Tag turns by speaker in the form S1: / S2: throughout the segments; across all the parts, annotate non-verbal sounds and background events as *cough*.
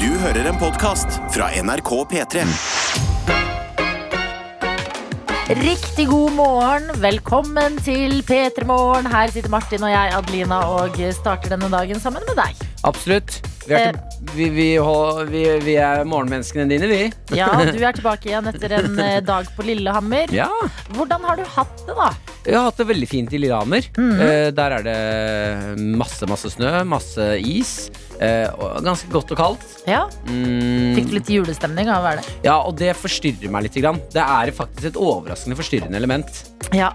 S1: Du hører en podkast fra NRK P3.
S2: Riktig god morgen. Velkommen til P3 Morgen. Her sitter Martin og jeg, Adelina, og starter denne dagen sammen med deg.
S3: Absolutt. Vi
S2: Eh.
S3: er, til- vi, vi, hå- vi, vi er morgenmenneskene dine, vi.
S2: Ja, du er tilbake igjen etter en eh, dag på Lillehammer.
S3: Ja.
S2: Hvordan har du hatt det, da?
S3: Jeg har hatt det veldig fint i Lillehammer.
S2: Mhm.
S3: Eh, der er det masse, masse snø, masse is. eh, og ganske godt og kaldt.
S2: Ja,
S3: Mm,
S2: Fikk du litt julestemning av å være det?
S3: ja, og det forstyrrer meg litt. Grann. Det er faktisk et overraskende forstyrrende element.
S2: Ja.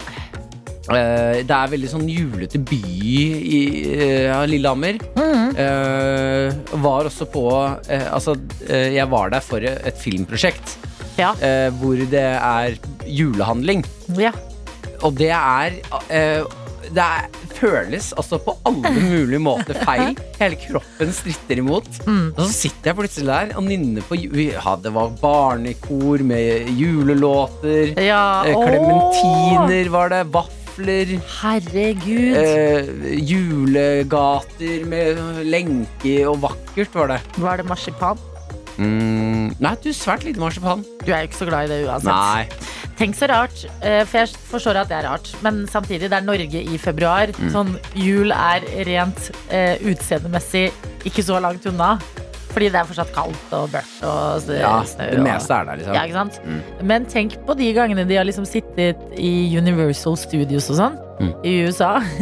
S3: Eh, det er veldig sånn julete by i eh, ja, Lillehammer.
S2: Mhm.
S3: Eh, var også på eh, Altså, eh, jeg var der for et filmprosjekt
S2: Ja.
S3: eh, hvor det er julehandling.
S2: ja.
S3: Og det er eh, Det er, føles altså på *laughs* alle mulige måter feil. Hele kroppen stritter imot. Og så sitter jeg plutselig der og nynner på ju- ja, Det var barnekor med julelåter. Eh,
S2: ja.
S3: Klementiner var det. Vafler.
S2: Å, herregud.
S3: Eh, julegater med lenke og vakkert var det.
S2: Var det marsipan?
S3: nei, du svært lite marsipan.
S2: Du er jo ikke så glad i det uansett. Tenk så rart, eh, for jeg forstår at det er rart. Men samtidig, det er Norge i februar.
S3: Mm.
S2: Sånn, jul er rent eh, utseendemessig ikke så langt unna. Fordi det er fortsatt kaldt og mørkt og s-
S3: Ja,
S2: snø.
S3: det
S2: og-
S3: meste er der, liksom.
S2: Ja, ikke sant? Men tenk på de gangene de har liksom sittet i Universal Studios og sånn,
S3: Mm.
S2: i USA, *laughs*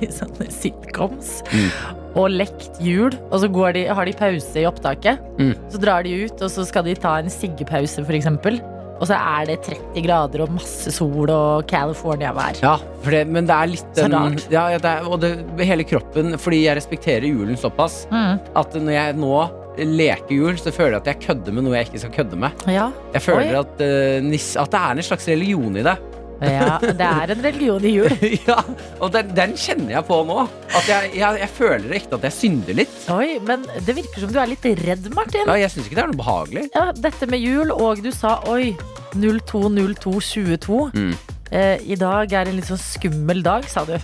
S2: i sånne sitcoms,
S3: Mm.
S2: og lekt jul, og så går de, har de pause i opptaket.
S3: Mm.
S2: Så drar de ut, og så skal de ta en siggepause, for eksempel. Og så er det 30 grader og masse sol og California-vær.
S3: Ja, for det, men det er
S2: Så
S3: litt den,
S2: rart.
S3: ja, ja, det er, Og det, hele kroppen Fordi jeg respekterer julen såpass
S2: Mm.
S3: at når jeg nå leker jul, så føler jeg at jeg kødder med noe jeg ikke skal kødde med. *laughs*
S2: Ja.
S3: Jeg føler
S2: Oi.
S3: at, eh, niss, at det er en slags religion i det. *laughs*
S2: ja, det er en religion i jul.
S3: ja, og den, den kjenner jeg på nå. At jeg, jeg, jeg føler ekte at jeg synder litt.
S2: Oi, men det virker som du er litt redd, Martin.
S3: Ja, jeg syns ikke det er noe behagelig.
S2: ja, dette med jul, og du sa oi, 02.02.22.
S3: Mm.
S2: Eh, I dag er en litt sånn skummel dag, sa du.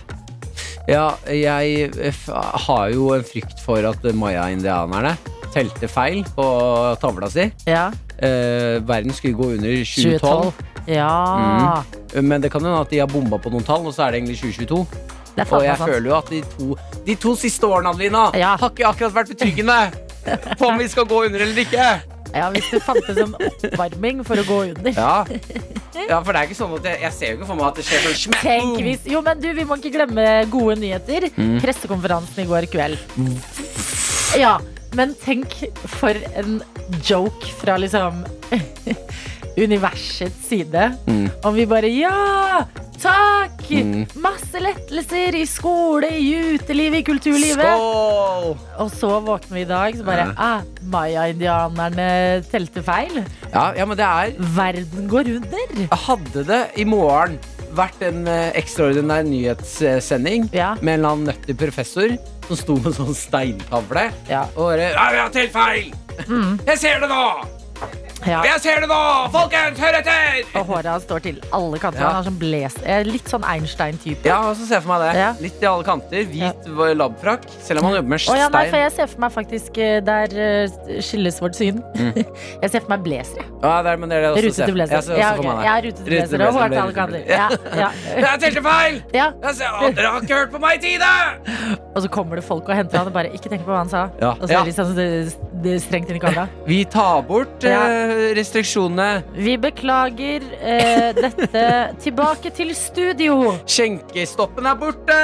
S3: Ja, jeg eh, f- har jo en frykt for at maya-indianerne telte feil på tavla si.
S2: Ja.
S3: Eh, verden skulle gå under 2012,
S2: Ja.
S3: men det kan hende at de har bomba på noen tall, og så er det egentlig 2022.
S2: Det er
S3: Og
S2: faen meg
S3: jeg
S2: sant.
S3: føler jo at de to, de to siste årene, Adelina,
S2: Ja.
S3: har ikke akkurat
S2: *laughs*
S3: vært betryggende på om vi skal gå under eller ikke.
S2: Ja, hvis du fant det som oppvarming for å gå under.
S3: Ja, ja for det er ikke sånn at jeg, jeg ser jo ikke for meg at det skjer sånn smekk.
S2: Tenk hvis Jo, men du, vi må ikke glemme gode nyheter.
S3: Mm.
S2: Pressekonferansen i går kveld. Ja, men tenk for en joke fra liksom *laughs* universets side.
S3: Mm.
S2: Om vi bare Ja! Takk!
S3: Mm.
S2: Masse lettelser i skole, i utelivet, i kulturlivet.
S3: Skål!
S2: Og så våkner vi i dag, så bare
S3: Ja.
S2: ah, Maya-indianerne telte feil.
S3: Ja, ja, men det er
S2: Verden går under.
S3: Hadde det i morgen vært en eh, ekstraordinær nyhetssending
S2: Ja.
S3: med en eller annen nøttig professor som sto med sånn steintavle
S2: Ja. Mm.
S3: og bare Ja, vi har telt feil! Jeg ser det nå!
S2: ja.
S3: Jeg ser det nå! Folkens, hør etter!
S2: Og håret hans står til alle kanter.
S3: Ja.
S2: Han er sånn bles- eh, Litt sånn Einstein-type.
S3: Ja, og så ser jeg for meg det.
S2: Ja.
S3: Litt i alle kanter. Hvit labfrakk. Selv om han jobber med
S2: Å ja, nei, for
S3: stein.
S2: jeg ser for meg faktisk eh, Der eh, skilles vårt syn. *laughs* Jeg ser for meg blazer. jeg.
S3: Ja, der, men det er det jeg også
S2: Rutete
S3: ser. Jeg
S2: blazer.
S3: ser også
S2: Mm. Ja,
S3: for
S2: ok.
S3: meg det.
S2: Jeg har rutete
S3: Rutete
S2: blazer og hår til alle
S3: blazer,
S2: kanter.
S3: blazer.
S2: Ja, ja. *laughs*
S3: Jeg telte feil!
S2: ja.
S3: Jeg ser, å, dere har ikke hørt på meg i tide!
S2: Og så kommer det folk og henter han og bare ikke tenk på hva han sa.
S3: Ja.
S2: Og så
S3: Ja.
S2: er det litt sånn eh, det er strengt inn i kamera.
S3: Vi tar bort
S2: Ja.
S3: eh, restriksjonene.
S2: Vi beklager eh, dette. Tilbake til studio!
S3: Skjenkestoppen er borte!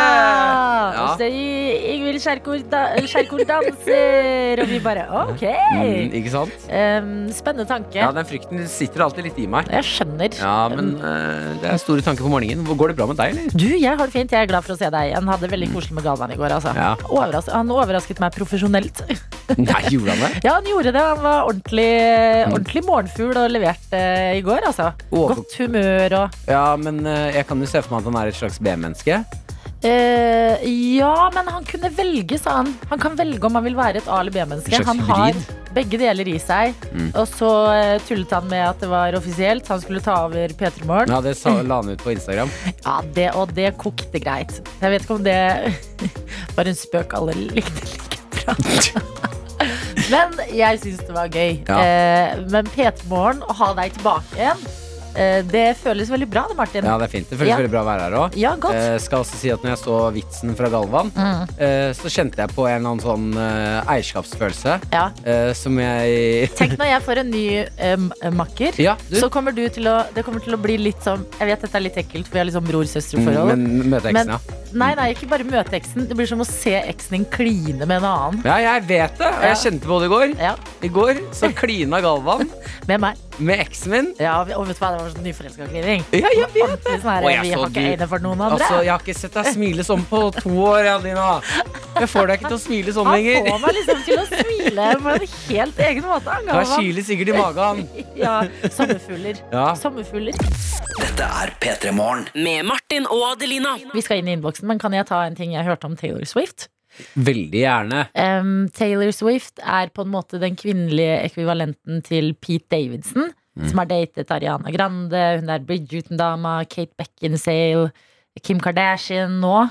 S2: Ja!
S3: Ja.
S2: Og så i- Ingvild Kjerkol, da, Kjerkol danser, og vi bare OK!
S3: Mm, ikke sant?
S2: Em, spennende tanke.
S3: Ja, den frykten sitter alltid litt i meg.
S2: Jeg skjønner.
S3: Ja, men eh, det er store tanker på morgenen. Hvor- Går det bra med deg,
S2: *laughs*
S3: eller?
S2: Du, jeg har det fint. Jeg er glad for å se deg igjen. Hadde det veldig koselig med Galvan i går. Altså.
S3: Ja.
S2: Overras han overrasket meg profesjonelt. *laughs*
S3: Nei, gjorde han det?
S2: Ja, han gjorde det. Han var ordentlig,
S3: Mm.
S2: ordentlig morgenfugl og leverte i går, altså.
S3: Over-
S2: Godt humør og
S3: Ja, men eh, jeg kan jo se for meg at han er et slags B-menneske.
S2: Eh, ja, men han kunne velge, sa han. Han kan velge om han vil være et A- eller B-menneske.
S3: En slags
S2: Han har
S3: hybrid. Mm.
S2: begge deler i seg. Og så eh, tullet han med at det var offisielt. Han skulle ta over P3 Morgen.
S3: Ja, det sa, la han ut på Instagram.
S2: Ja, det, og det kokte *laughs*
S3: *laughs*
S2: greit. Jeg vet ikke om det var en spøk alle likte like bra. Men jeg syns det var gøy.
S3: Ja.
S2: Eh, men P3 Morgen, å ha deg tilbake igjen, eh, det føles veldig bra det, Martin.
S3: Ja, Eh. det er fint. Det føles
S2: Ja.
S3: veldig bra å være her òg.
S2: Ja, godt. Mm.
S3: skal også si at når jeg så vitsen fra Galvan, eh, så kjente jeg på en eller annen sånn eh, eierskapsfølelse
S2: Ja.
S3: eh, som jeg
S2: Tenk når jeg får en ny em, makker.
S3: Ja, du.
S2: Så kommer du til å, det kommer til å bli litt sånn Jeg vet dette er litt ekkelt, for vi har liksom bror-søster-forhold.
S3: Mm, Men møte
S2: Men-
S3: eksen, ja.
S2: Nei, nei, ikke bare møte eksen. Det blir som å se eksen din kline med en annen.
S3: Ja, jeg vet det, og jeg
S2: Ja.
S3: kjente på det i går.
S2: Ja,
S3: I går så klina Galvan
S2: Med meg.
S3: med eksen min.
S2: Ja, vi- og vet du hva, det var sånn nyforelska klining.
S3: Ja, jeg vet det!
S2: Ordentlig sånn her,
S3: Og jeg
S2: Vi
S3: så
S2: har ikke
S3: du-
S2: øyne for noen andre.
S3: Altså, Jeg har ikke sett deg smile sånn på to år, Adelina. Jeg får deg ikke til å smile sånn
S2: Han
S3: lenger.
S2: får meg liksom til å smile på en helt egen måte. Han
S3: Da
S2: ga meg
S3: kiler sikkert i magen.
S2: ja, sommerfugler.
S3: Ja.
S2: sommerfugler.
S4: Dette er P3 Morgen.
S5: Med Martin og Adelina.
S2: Vi skal inn i innboksen, men kan jeg ta en ting jeg hørte om Taylor Swift?
S3: Veldig gjerne.
S2: Em, Taylor Swift er på en måte den kvinnelige ekvivalenten til Pete Davidson, som har datet Ariana Grande, hun der Bridgerton-dama, Kate Beckinsale, Kim Kardashian nå.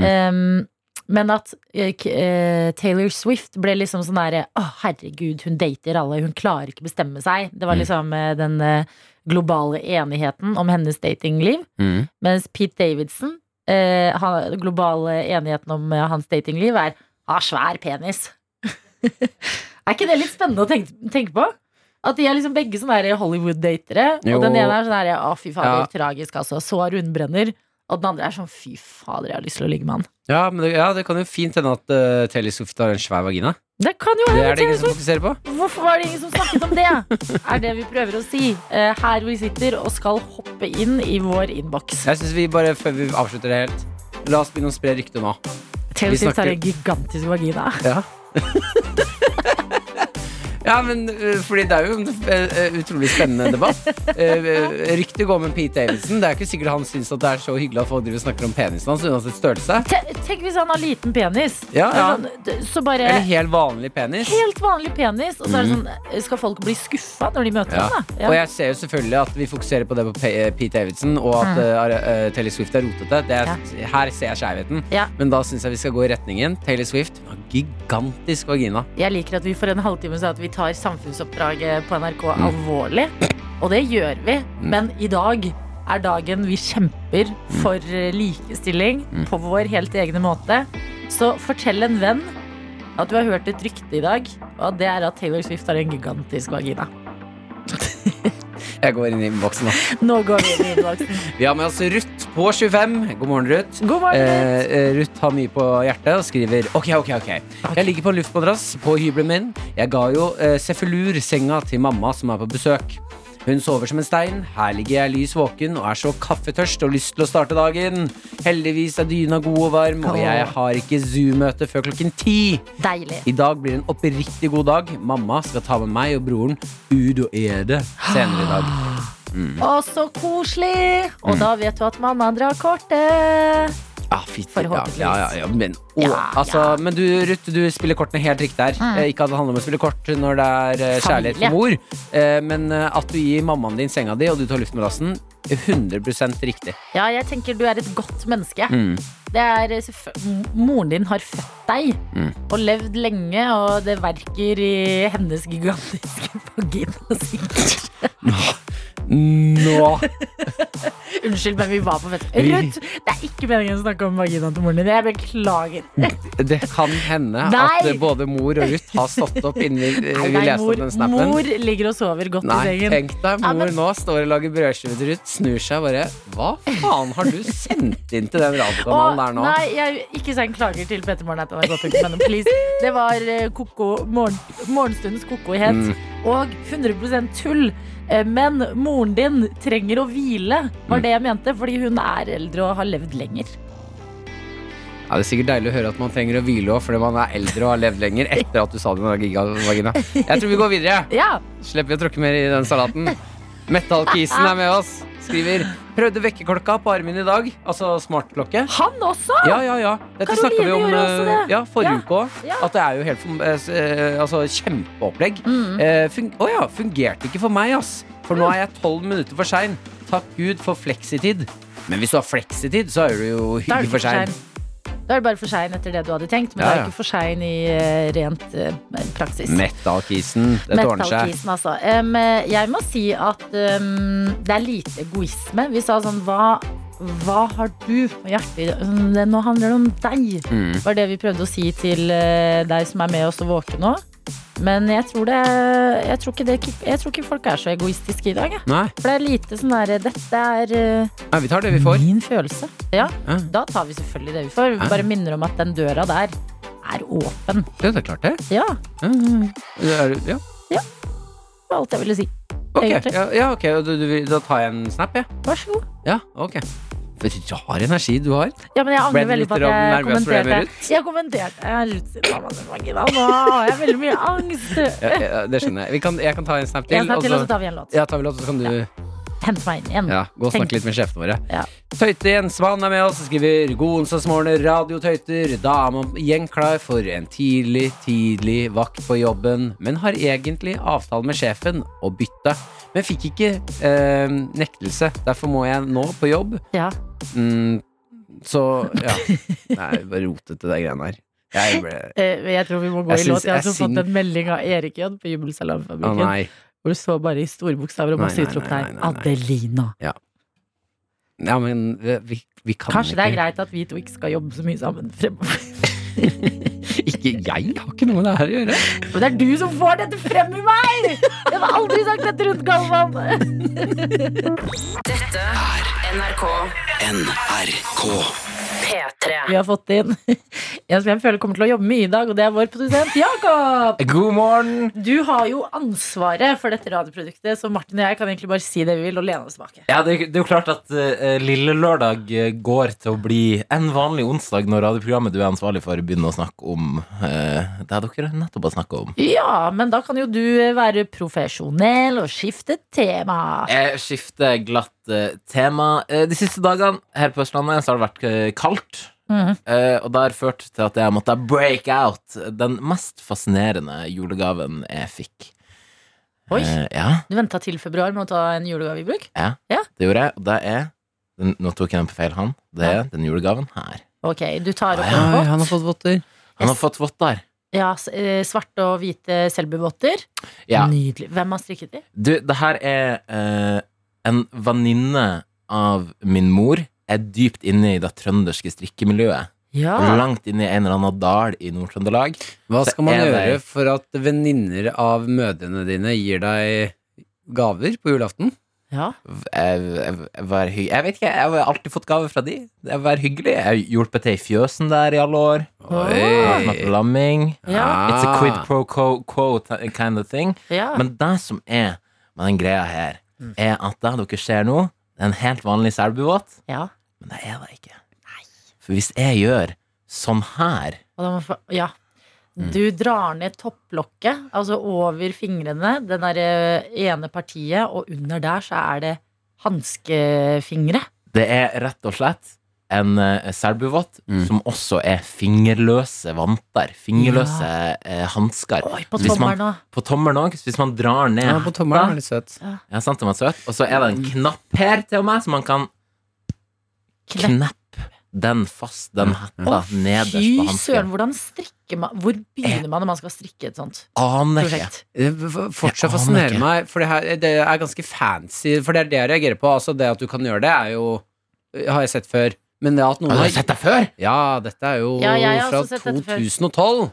S2: Em, men at eh, k- eh, Taylor Swift ble liksom sånn derre Å, herregud, hun dater alle, hun klarer ikke bestemme seg. Det var
S3: Mm.
S2: liksom eh, den eh, globale enigheten om hennes datingliv. Mens Pete Davidson, eh, han, den globale enigheten om eh, hans datingliv, er har svær penis. *laughs* er ikke det litt spennende å tenke, tenke på? At de er liksom begge sånne her Hollywood-datere.
S3: Jo.
S2: Og den ene er sånn her Å, fy fader,
S3: Ja.
S2: tragisk, altså. Så rundbrenner. Og den andre er sånn Fy fader, jeg har lyst til å ligge med han.
S3: Ja, men det, ja, det kan jo fint hende at uh, Taylor Swift har en svær vagina.
S2: Det kan jo
S3: Det
S2: hende.
S3: er det ingen som
S2: Taylor Swift.
S3: fokuserer på.
S2: Hvorfor var det ingen som snakket om det? er det vi prøver å si. Eh, her vi sitter og skal hoppe inn i vår innboks.
S3: Jeg synes vi bare, Før vi avslutter det helt, la oss begynne å spre ryktet nå.
S2: Taylor
S3: vi
S2: Swift har
S3: snakker-
S2: en gigantisk vagina.
S3: Ja. *laughs* ja, men eh, fordi det er jo en eh, utrolig spennende debatt. Eh, Ryktet går med Pete Davidson. Det er ikke sikkert han syns at det er så hyggelig at folk driver og snakker om penisen hans uansett størrelse.
S2: Te- Tenk hvis han har liten penis. Det
S3: Ja,
S2: er
S3: ja.
S2: sånn, d- Så bare
S3: Eller helt vanlig penis.
S2: helt vanlig penis, og så er det sånn Skal folk bli skuffa når de møter
S3: Ja.
S2: ham, da?
S3: Og jeg ser jo selvfølgelig at vi fokuserer på det på Pe- Pete Davidson, og at eh, Ar- eh, Taylor Swift er rotete. Det er, Her ser jeg skjevheten.
S2: Ja.
S3: Men da syns jeg vi skal gå i retningen. Taylor Swift har gigantisk vagina.
S2: Jeg liker at vi for en halvtime sa at vi tar samfunnsoppdraget på NRK
S3: Mm.
S2: alvorlig. Og det gjør vi. Men i dag er dagen vi kjemper
S3: Mm.
S2: for eh, likestilling på vår helt egne måte. Så fortell en venn at du har hørt et rykte i dag, og det er at Taylor Swift har en gigantisk vagina.
S3: Jeg går inn i boksen nå.
S2: Nå går vi inn i innboksen.
S3: *laughs* Vi har med oss Ruth på 25. God morgen, Ruth.
S2: God morgen.
S3: Eh, eh, Ruth har mye på hjertet og skriver Ok, ok, ok Jeg ligger på en luftmadrass på hybelen min Jeg ga jo eh, Cefalur senga til mamma som er på besøk Hun sover som en stein Her ligger jeg lys våken Og er så kaffetørst og lyst til å starte dagen Heldigvis er dyna god og varm Og jeg har ikke Zoom-møte før klokken ti
S2: Deilig.
S3: I dag blir det en oppriktig god dag Mamma skal ta med meg og broren Ud og Ede senere i dag
S2: Å, så koselig! Og da vet du at mamma drar kortet.
S3: Ja, fitte,
S2: Forhåpentligvis.
S3: Ah, Ja, ja, ja, ja, men, å,
S2: Ja,
S3: altså,
S2: ja.
S3: men du, Ruth, du spiller kortene helt riktig der. Eh, Ikke at det handler om å spille kort når det er eh, kjærlighet
S2: Familie.
S3: for mor, eh, men eh, at du gir mammaen din senga di, og du tar luftmadrassen, 100 riktig.
S2: Ja, jeg tenker du er et godt menneske.
S3: Mm.
S2: Det er, selvfø- m- moren din har født deg
S3: Mm.
S2: og levd lenge, og det verker i hennes gigantiske *laughs* vagina. sikkert.
S3: Nå!
S2: *laughs* Unnskyld, men vi var på fest.
S3: Vi-
S2: Ruth, det er ikke meningen å snakke om vaginaen til moren din. Jeg beklager.
S3: Det kan hende
S2: Nei.
S3: at eh, både mor og Ruth har stått opp innen vi, eh,
S2: Nei,
S3: vi
S2: nei,
S3: leste
S2: mor,
S3: opp den snappen.
S2: mor ligger og sover godt
S3: Nei,
S2: i sengen.
S3: tenk deg,
S2: Ja,
S3: mor
S2: men-
S3: nå står og lager brødskive til Ruth, snur seg og bare Hva faen har du sendt inn
S2: *laughs*
S3: til den radiokanalen
S2: Å,
S3: der nå?
S2: Nei, jeg, ikke send klager til Petter Morgen at han har gått ut, men please. Det var eh, koko, morgen, morgenstundens kokohet
S3: Mm.
S2: og 100 tull. Eh, Men moren din trenger å hvile,
S3: Mm.
S2: var det jeg mente, fordi hun er eldre og har levd lenger.
S3: Ja, det er sikkert deilig å høre at man trenger å hvile òg, fordi man er eldre og har levd lenger etter at du sa det med gigavagina. Jeg tror vi går videre.
S2: Ja,
S3: Slipper vi å tråkke mer i den salaten. Metallkisen er med oss. Skriver 'Prøvde vekkerklokka på armen i dag'. Altså smartklokke.
S2: han også!
S3: Ja, ja, ja. Dette
S2: Karoline
S3: snakka vi om
S2: gjorde også
S3: eh,
S2: det.
S3: ja, forrige
S2: Ja,
S3: uke òg.
S2: ja.
S3: At det er jo helt for- eh, s- eh, altså, kjempeopplegg.
S2: Mm.
S3: Eh, fun å ja, fungerte ikke for meg, ass. For nå er jeg tolv minutter for sein. Takk Gud for fleksitid. Men hvis du har fleksitid, så er du jo
S2: Da er
S3: hyggelig
S2: det
S3: for
S2: ikke for
S3: sein.
S2: sein. Da er det bare for sein etter det du hadde tenkt, men det
S3: Ja, ja.
S2: er jo ikke for sein i eh, rent eh, praksis.
S3: Metal-kisen. Dette ordner seg.
S2: Metallkisen, altså. Em, eh, jeg må si at em, det er lite egoisme. Vi sa sånn hva, hva har du på hjertet? i dag? Sånn, det- Nå handler det om deg,
S3: Mm.
S2: var det vi prøvde å si til eh, deg som er med oss og våken nå. Men jeg tror, det, jeg, tror ikke det, jeg tror ikke folk er så egoistiske i dag. Jeg.
S3: Nei,
S2: For det er lite sånn derre Dette er eh,
S3: nei, vi tar det vi får.
S2: min følelse. Ja,
S3: Ja.
S2: da tar vi selvfølgelig det vi får. Vi bare minner om at den døra der er åpen.
S3: Ja, det er klart, det.
S2: Ja,
S3: Ja, ja, ja. Det er- Ja.
S2: det var alt jeg ville si.
S3: Ok,
S2: Egentlig.
S3: ja, ja, ok, og du, du, vil- da tar jeg en snap, jeg.
S2: Vær så god.
S3: Ja, ok. For Du har energi, du har.
S2: Ja, men jeg
S3: Ble
S2: angrer
S3: du
S2: veldig på at
S3: litt ram-
S2: jeg
S3: nervøs for
S2: kommenterte.
S3: det, Berit?
S2: Jeg kommenterte. Jeg er litt sinna, men det var ikke det. Nå har jeg veldig mye angst.
S3: Ja, ja, det skjønner jeg. Vi kan, jeg kan ta en snap til.
S2: En snakk til, og
S3: og
S2: så tar vi en låt.
S3: ja, tar vi låt, så kan du
S2: Hent meg inn igjen.
S3: ja, gå
S2: Mm.
S3: og
S2: Tenk.
S3: snakke litt med sjefene våre.
S2: Ja.
S3: Tøyte Jensmann er med oss og skriver god onsdagsmorgen, radiotøyter. Da er man igjen klar for en tidlig, tidlig vakt på jobben, men har egentlig avtale med sjefen og bytte. Men fikk ikke eh, nektelse. Derfor må jeg nå på jobb
S2: Ja.
S3: Mm, så ja.
S2: *laughs*
S3: Nei, bare rotete de greiene her. Jeg ble
S2: Eh, Jeg tror vi må gå
S3: Jeg
S2: i låt.
S3: syns-
S2: Jeg har
S3: jeg
S2: altså fått
S3: syng-
S2: en melding av Erik J. på
S3: Å
S2: Jubelsalamfabrikken.
S3: nei.
S2: hvor det står bare i store bokstaver og
S3: Nei,
S2: masse
S3: nei,
S2: utrop
S3: nei,
S2: der.
S3: nei, nei, nei.
S2: Adelina.
S3: Ja, men vi- vi, vi kan
S2: Kanskje det er
S3: ikke
S2: greit at vi to ikke skal jobbe så mye sammen fremover.
S3: Ikke jeg har ikke noe med det her å gjøre.
S2: Men det er du som får dette frem i meg! Jeg har aldri sagt dette rundt Galvan.
S5: NRK
S4: NRK.
S5: P3.
S2: Vi har fått inn en som jeg føler kommer til å jobbe mye i dag, og det er vår produsent Jakob.
S3: God morgen!
S2: Du har jo ansvaret for dette radioproduktet, så Martin og jeg kan egentlig bare si det vi vil og lene oss tilbake.
S6: Ja, det, det er jo klart at eh, lille lørdag eh, går til å bli en vanlig onsdag når radioprogrammet du er ansvarlig for, begynner å snakke om eh, det dere nettopp har snakket om.
S2: Ja, men da kan jo du være profesjonell og skifte tema.
S6: Jeg skifter glatt eh, tema. Eh, de siste dagene her på Østlandet så har det vært eh, kaldt.
S2: Mhm.
S6: Eh, og det har ført til at jeg måtte break out. Den mest fascinerende julegaven jeg fikk.
S2: Oi,
S6: Eh, ja,
S2: du venta til februar med å ta en julegave i bruk?
S6: det gjorde jeg. Og det er den, Nå tok jeg den på feil hånd. Det er den julegaven her.
S2: Ok, du tar opp en
S3: Oi,
S2: båt.
S3: han har fått votter.
S6: Han har fått votter.
S2: Ja, s- eh, svarte og hvite selbuvotter.
S6: Ja.
S2: Nydelig. Hvem har strikket de?
S6: Du, det her er eh, en venninne av min mor. Er dypt inne i det trønderske strikkemiljøet.
S2: Ja.
S6: Langt inne i en eller annen dal i Nord-Trøndelag.
S3: Hva
S6: Så
S3: skal man
S6: er det-
S3: gjøre for at venninner av mødrene dine gir deg gaver på julaften?
S2: ja.
S6: Jeg, jeg, jeg, var hy- jeg vet ikke, jeg har alltid fått gaver fra de. Jeg var hyggelig. Jeg har hjulpet til i fjøsen der i alle år. Jeg har snakket om lamming.
S2: Ja.
S6: It's a quid pro quo, quo t- kind of thing.
S2: ja.
S6: Men det som er med den greia her, er at det dere ser nå, det er en helt vanlig selbuvåt.
S2: ja.
S6: Men det er det ikke. For hvis jeg gjør sånn her
S2: Og da må få, ja.
S6: Mm.
S2: Du drar ned topplokket, altså over fingrene, det der eh, ene partiet, og under der så er det hanskefingre.
S6: Det er rett og slett en uh, selbuvott
S3: Mm.
S6: som også er fingerløse vanter. Fingerløse uh, hansker.
S2: Oi, på
S6: Hvis man-
S2: tommelen òg.
S6: På tommelen òg. Hvis man drar ned
S3: Ja, på tommelen er
S6: da-
S3: litt Mm. søt.
S6: Ja, sant, den var søt. Og så er det en knapp her til og med, så man kan
S2: Knepp.
S6: kneppe den fast, den hetta, nederst
S2: Fy
S6: på
S2: søren,
S6: hansken.
S2: hvordan strikker man Hvor
S6: Eh.
S2: begynner man når man skal strikke et sånt
S6: Aner ikke.
S2: prosjekt?
S3: Det f- fortsatt
S6: Jeg aner
S3: fascinerer
S6: ikke.
S3: meg, for det, her, det er ganske fancy. For det er det jeg reagerer på. Altså, det at du kan gjøre det, er jo eh, Har jeg sett før. Men det at noen
S6: Har du sett det før?
S3: Ja, dette er jo
S2: Ja, jeg har
S3: fra
S2: også sett dette før.
S3: 2012.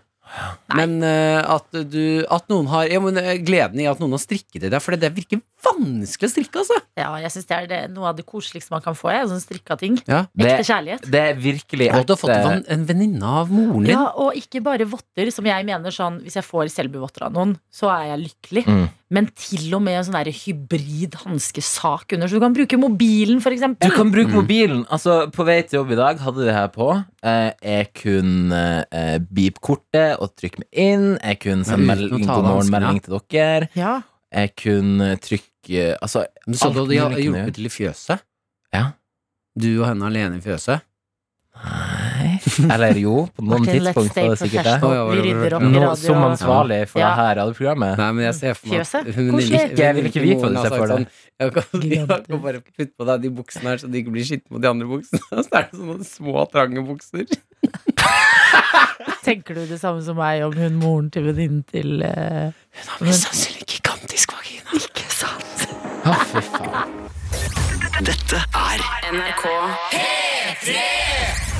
S3: Men eh, at, du, at noen har ja, men, eh, gleden i at noen har strikket i deg, for det der virker vanskelig å strikke, altså.
S2: Ja, jeg syns det er det, noe av det koseligste man kan få. Jeg, sånn strikka ting.
S3: Ja.
S6: Det,
S2: Ekte kjærlighet.
S6: det er virkelig eh,
S3: Og at du har fått
S6: ekte-
S3: van- en venninne av moren din.
S2: Ja, og ikke bare votter, som jeg mener sånn Hvis jeg får selbuvotter av noen, så er jeg lykkelig.
S6: Mm.
S2: Men til og med en sånn der hybrid hanskesak under, så du kan bruke mobilen, for
S6: Du
S2: eksempel.
S6: kan
S3: Mm.
S6: bruke mobilen. Altså, På vei til jobb i dag hadde det her på. Eh, jeg kunne eh, beepe kortet og trykke meg inn. Jeg kunne sende
S3: Men uten å
S6: melding,
S3: ta av
S6: god morgen-melding
S3: hanskene.
S6: til dere.
S2: Ja.
S6: Jeg kunne trykke Altså,
S3: Men så
S6: alt
S3: du hadde
S6: mulig
S3: hjul-
S6: kunne
S3: hjulpet til i fjøset?
S6: Ja.
S3: Du og henne alene i fjøset?
S6: Nei Eller jo, på noen
S2: Martin, let's
S6: tidspunkt
S2: stay
S6: var det sikkert det.
S2: professional. Vi
S3: Å, ja, ja, ja, ja.
S2: rydder opp i
S6: Nå,
S2: radio.
S6: som *laughs* ansvarlig for
S2: Ja.
S6: det her radioprogrammet.
S3: Nei, men jeg ser for meg at
S2: Fjøset?
S3: hun
S2: Koselig.
S3: venninnen-
S6: Jeg vil ikke vite hva
S3: hun
S6: du
S3: har
S6: ser for
S3: sagt
S6: deg.
S3: sånn, Jeg kan, jeg
S2: Gigant.
S3: kan bare putte på deg de buksene her, så de ikke blir skitne på de andre buksene. *laughs* Så er det sånne små, trange bukser.
S2: Tenker du det samme som meg om hun moren til venninnen til eh,
S3: Mest sannsynlig gigantisk vagina. Ikke sant?
S4: Dette er
S5: NRK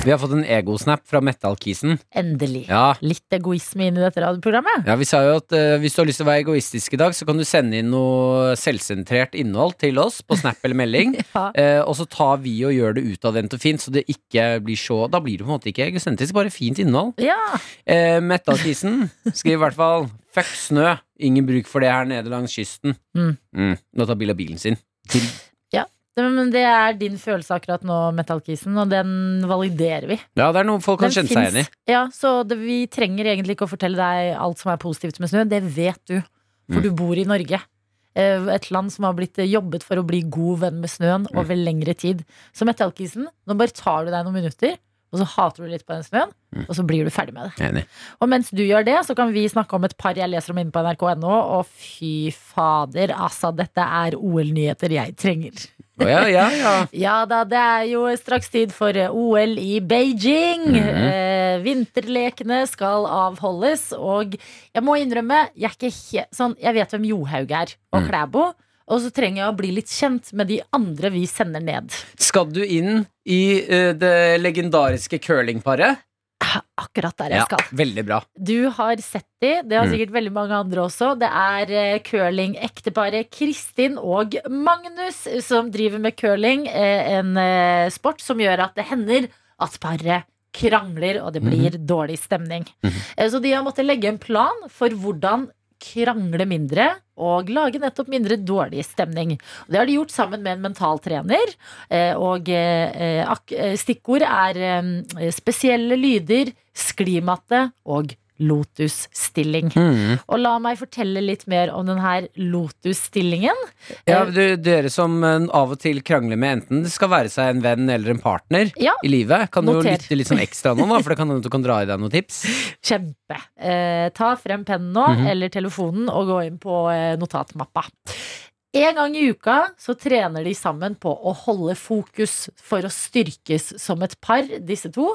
S3: Vi har fått en egosnap fra Metallkisen.
S2: Endelig.
S3: Ja.
S2: Litt egoisme inn i dette radioprogrammet.
S3: Ja, vi sa jo at eh, Hvis du har lyst til å være egoistisk i dag, så kan du sende inn noe selvsentrert innhold til oss på Snap eller melding.
S2: *laughs* Ja.
S3: Eh, og så tar vi og gjør det utadvendt og fint, så det ikke blir så Da blir det på en måte ikke egosentrisk, bare fint innhold.
S2: Ja,
S3: Eh, Metallkisen skriver i hvert fall 'fuck snø', ingen bruk for det her nede langs kysten.
S2: Mm.
S3: Nå tar Bill av bilen sin.
S2: det- men Det er din følelse akkurat nå, Metallkisen, og den validerer vi.
S3: Ja, det er noe folk kan
S2: Den
S3: kjenne seg
S2: finnes.
S3: igjen i.
S2: Ja, så det, Vi trenger egentlig ikke å fortelle deg alt som er positivt med snø. Det vet du, for
S3: Mm.
S2: du bor i Norge. Eh, Et land som har blitt eh, jobbet for å bli god venn med snøen
S3: Mm.
S2: over lengre tid. Så Metallkisen, nå bare tar du deg noen minutter, og så hater du litt på den snøen,
S3: Mm.
S2: og så blir du ferdig med det.
S3: Enig.
S2: Og mens du gjør det, så kan vi snakke om et par jeg leser om inne på nrk.no. Og fy fader, altså, dette er OL-nyheter jeg trenger.
S3: Å, ja, ja, ja.
S2: Ja da, det er jo straks tid for OL i Beijing. eh, vinterlekene skal avholdes, og jeg må innrømme, jeg er ikke he sånn Jeg vet hvem Johaug er, og Klæbo. Og så trenger jeg å bli litt kjent med de andre vi sender ned.
S3: Skal du inn i eh, det legendariske curlingparet?
S2: Ah, Akkurat der jeg skal.
S3: veldig bra.
S2: Du har sett de, det har
S3: Mm.
S2: sikkert veldig mange andre også. Det er eh, curling-ekteparet Kristin og Magnus som driver med curling. eh, En eh, sport som gjør at det hender at paret krangler, og det blir dårlig stemning. Eh, Så de har måttet legge en plan for hvordan krangle mindre og lage nettopp mindre dårlig stemning. Det har de gjort sammen med en mental trener. Eh, Og eh, eh, ak- eh, stikkord er eh, spesielle lyder, sklimatte og lotusstilling.
S3: Mm.
S2: Og la meg fortelle litt mer om denne lotusstillingen.
S3: Ja, du, dere som eh, av og til krangler med enten det skal være seg en venn eller en partner
S2: Ja,
S3: i livet, kan du
S2: noter.
S3: jo lytte litt sånn ekstra nå, da, for det kan hende du kan dra i deg noen tips.
S2: kjempe. Eh, ta frem pennen nå,
S3: Mhm.
S2: eller telefonen, og gå inn på eh, notatmappa. En gang i uka så trener de sammen på å holde fokus for å styrkes som et par, disse to.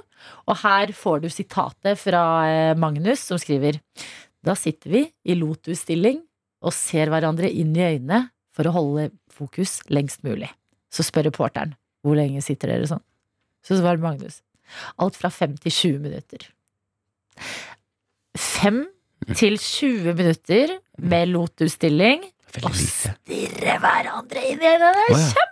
S2: Og her får du sitatet fra eh, Magnus, som skriver Da sitter vi i lotus-stilling og ser hverandre inn i øynene for å holde fokus lengst mulig. Så spør reporteren hvor lenge sitter dere sånn. Så svarer Magnus alt fra 5 til 20 minutter. 5 til 20 minutter med lotus-stilling og stirre hverandre inn i øynene.
S3: Å, ja.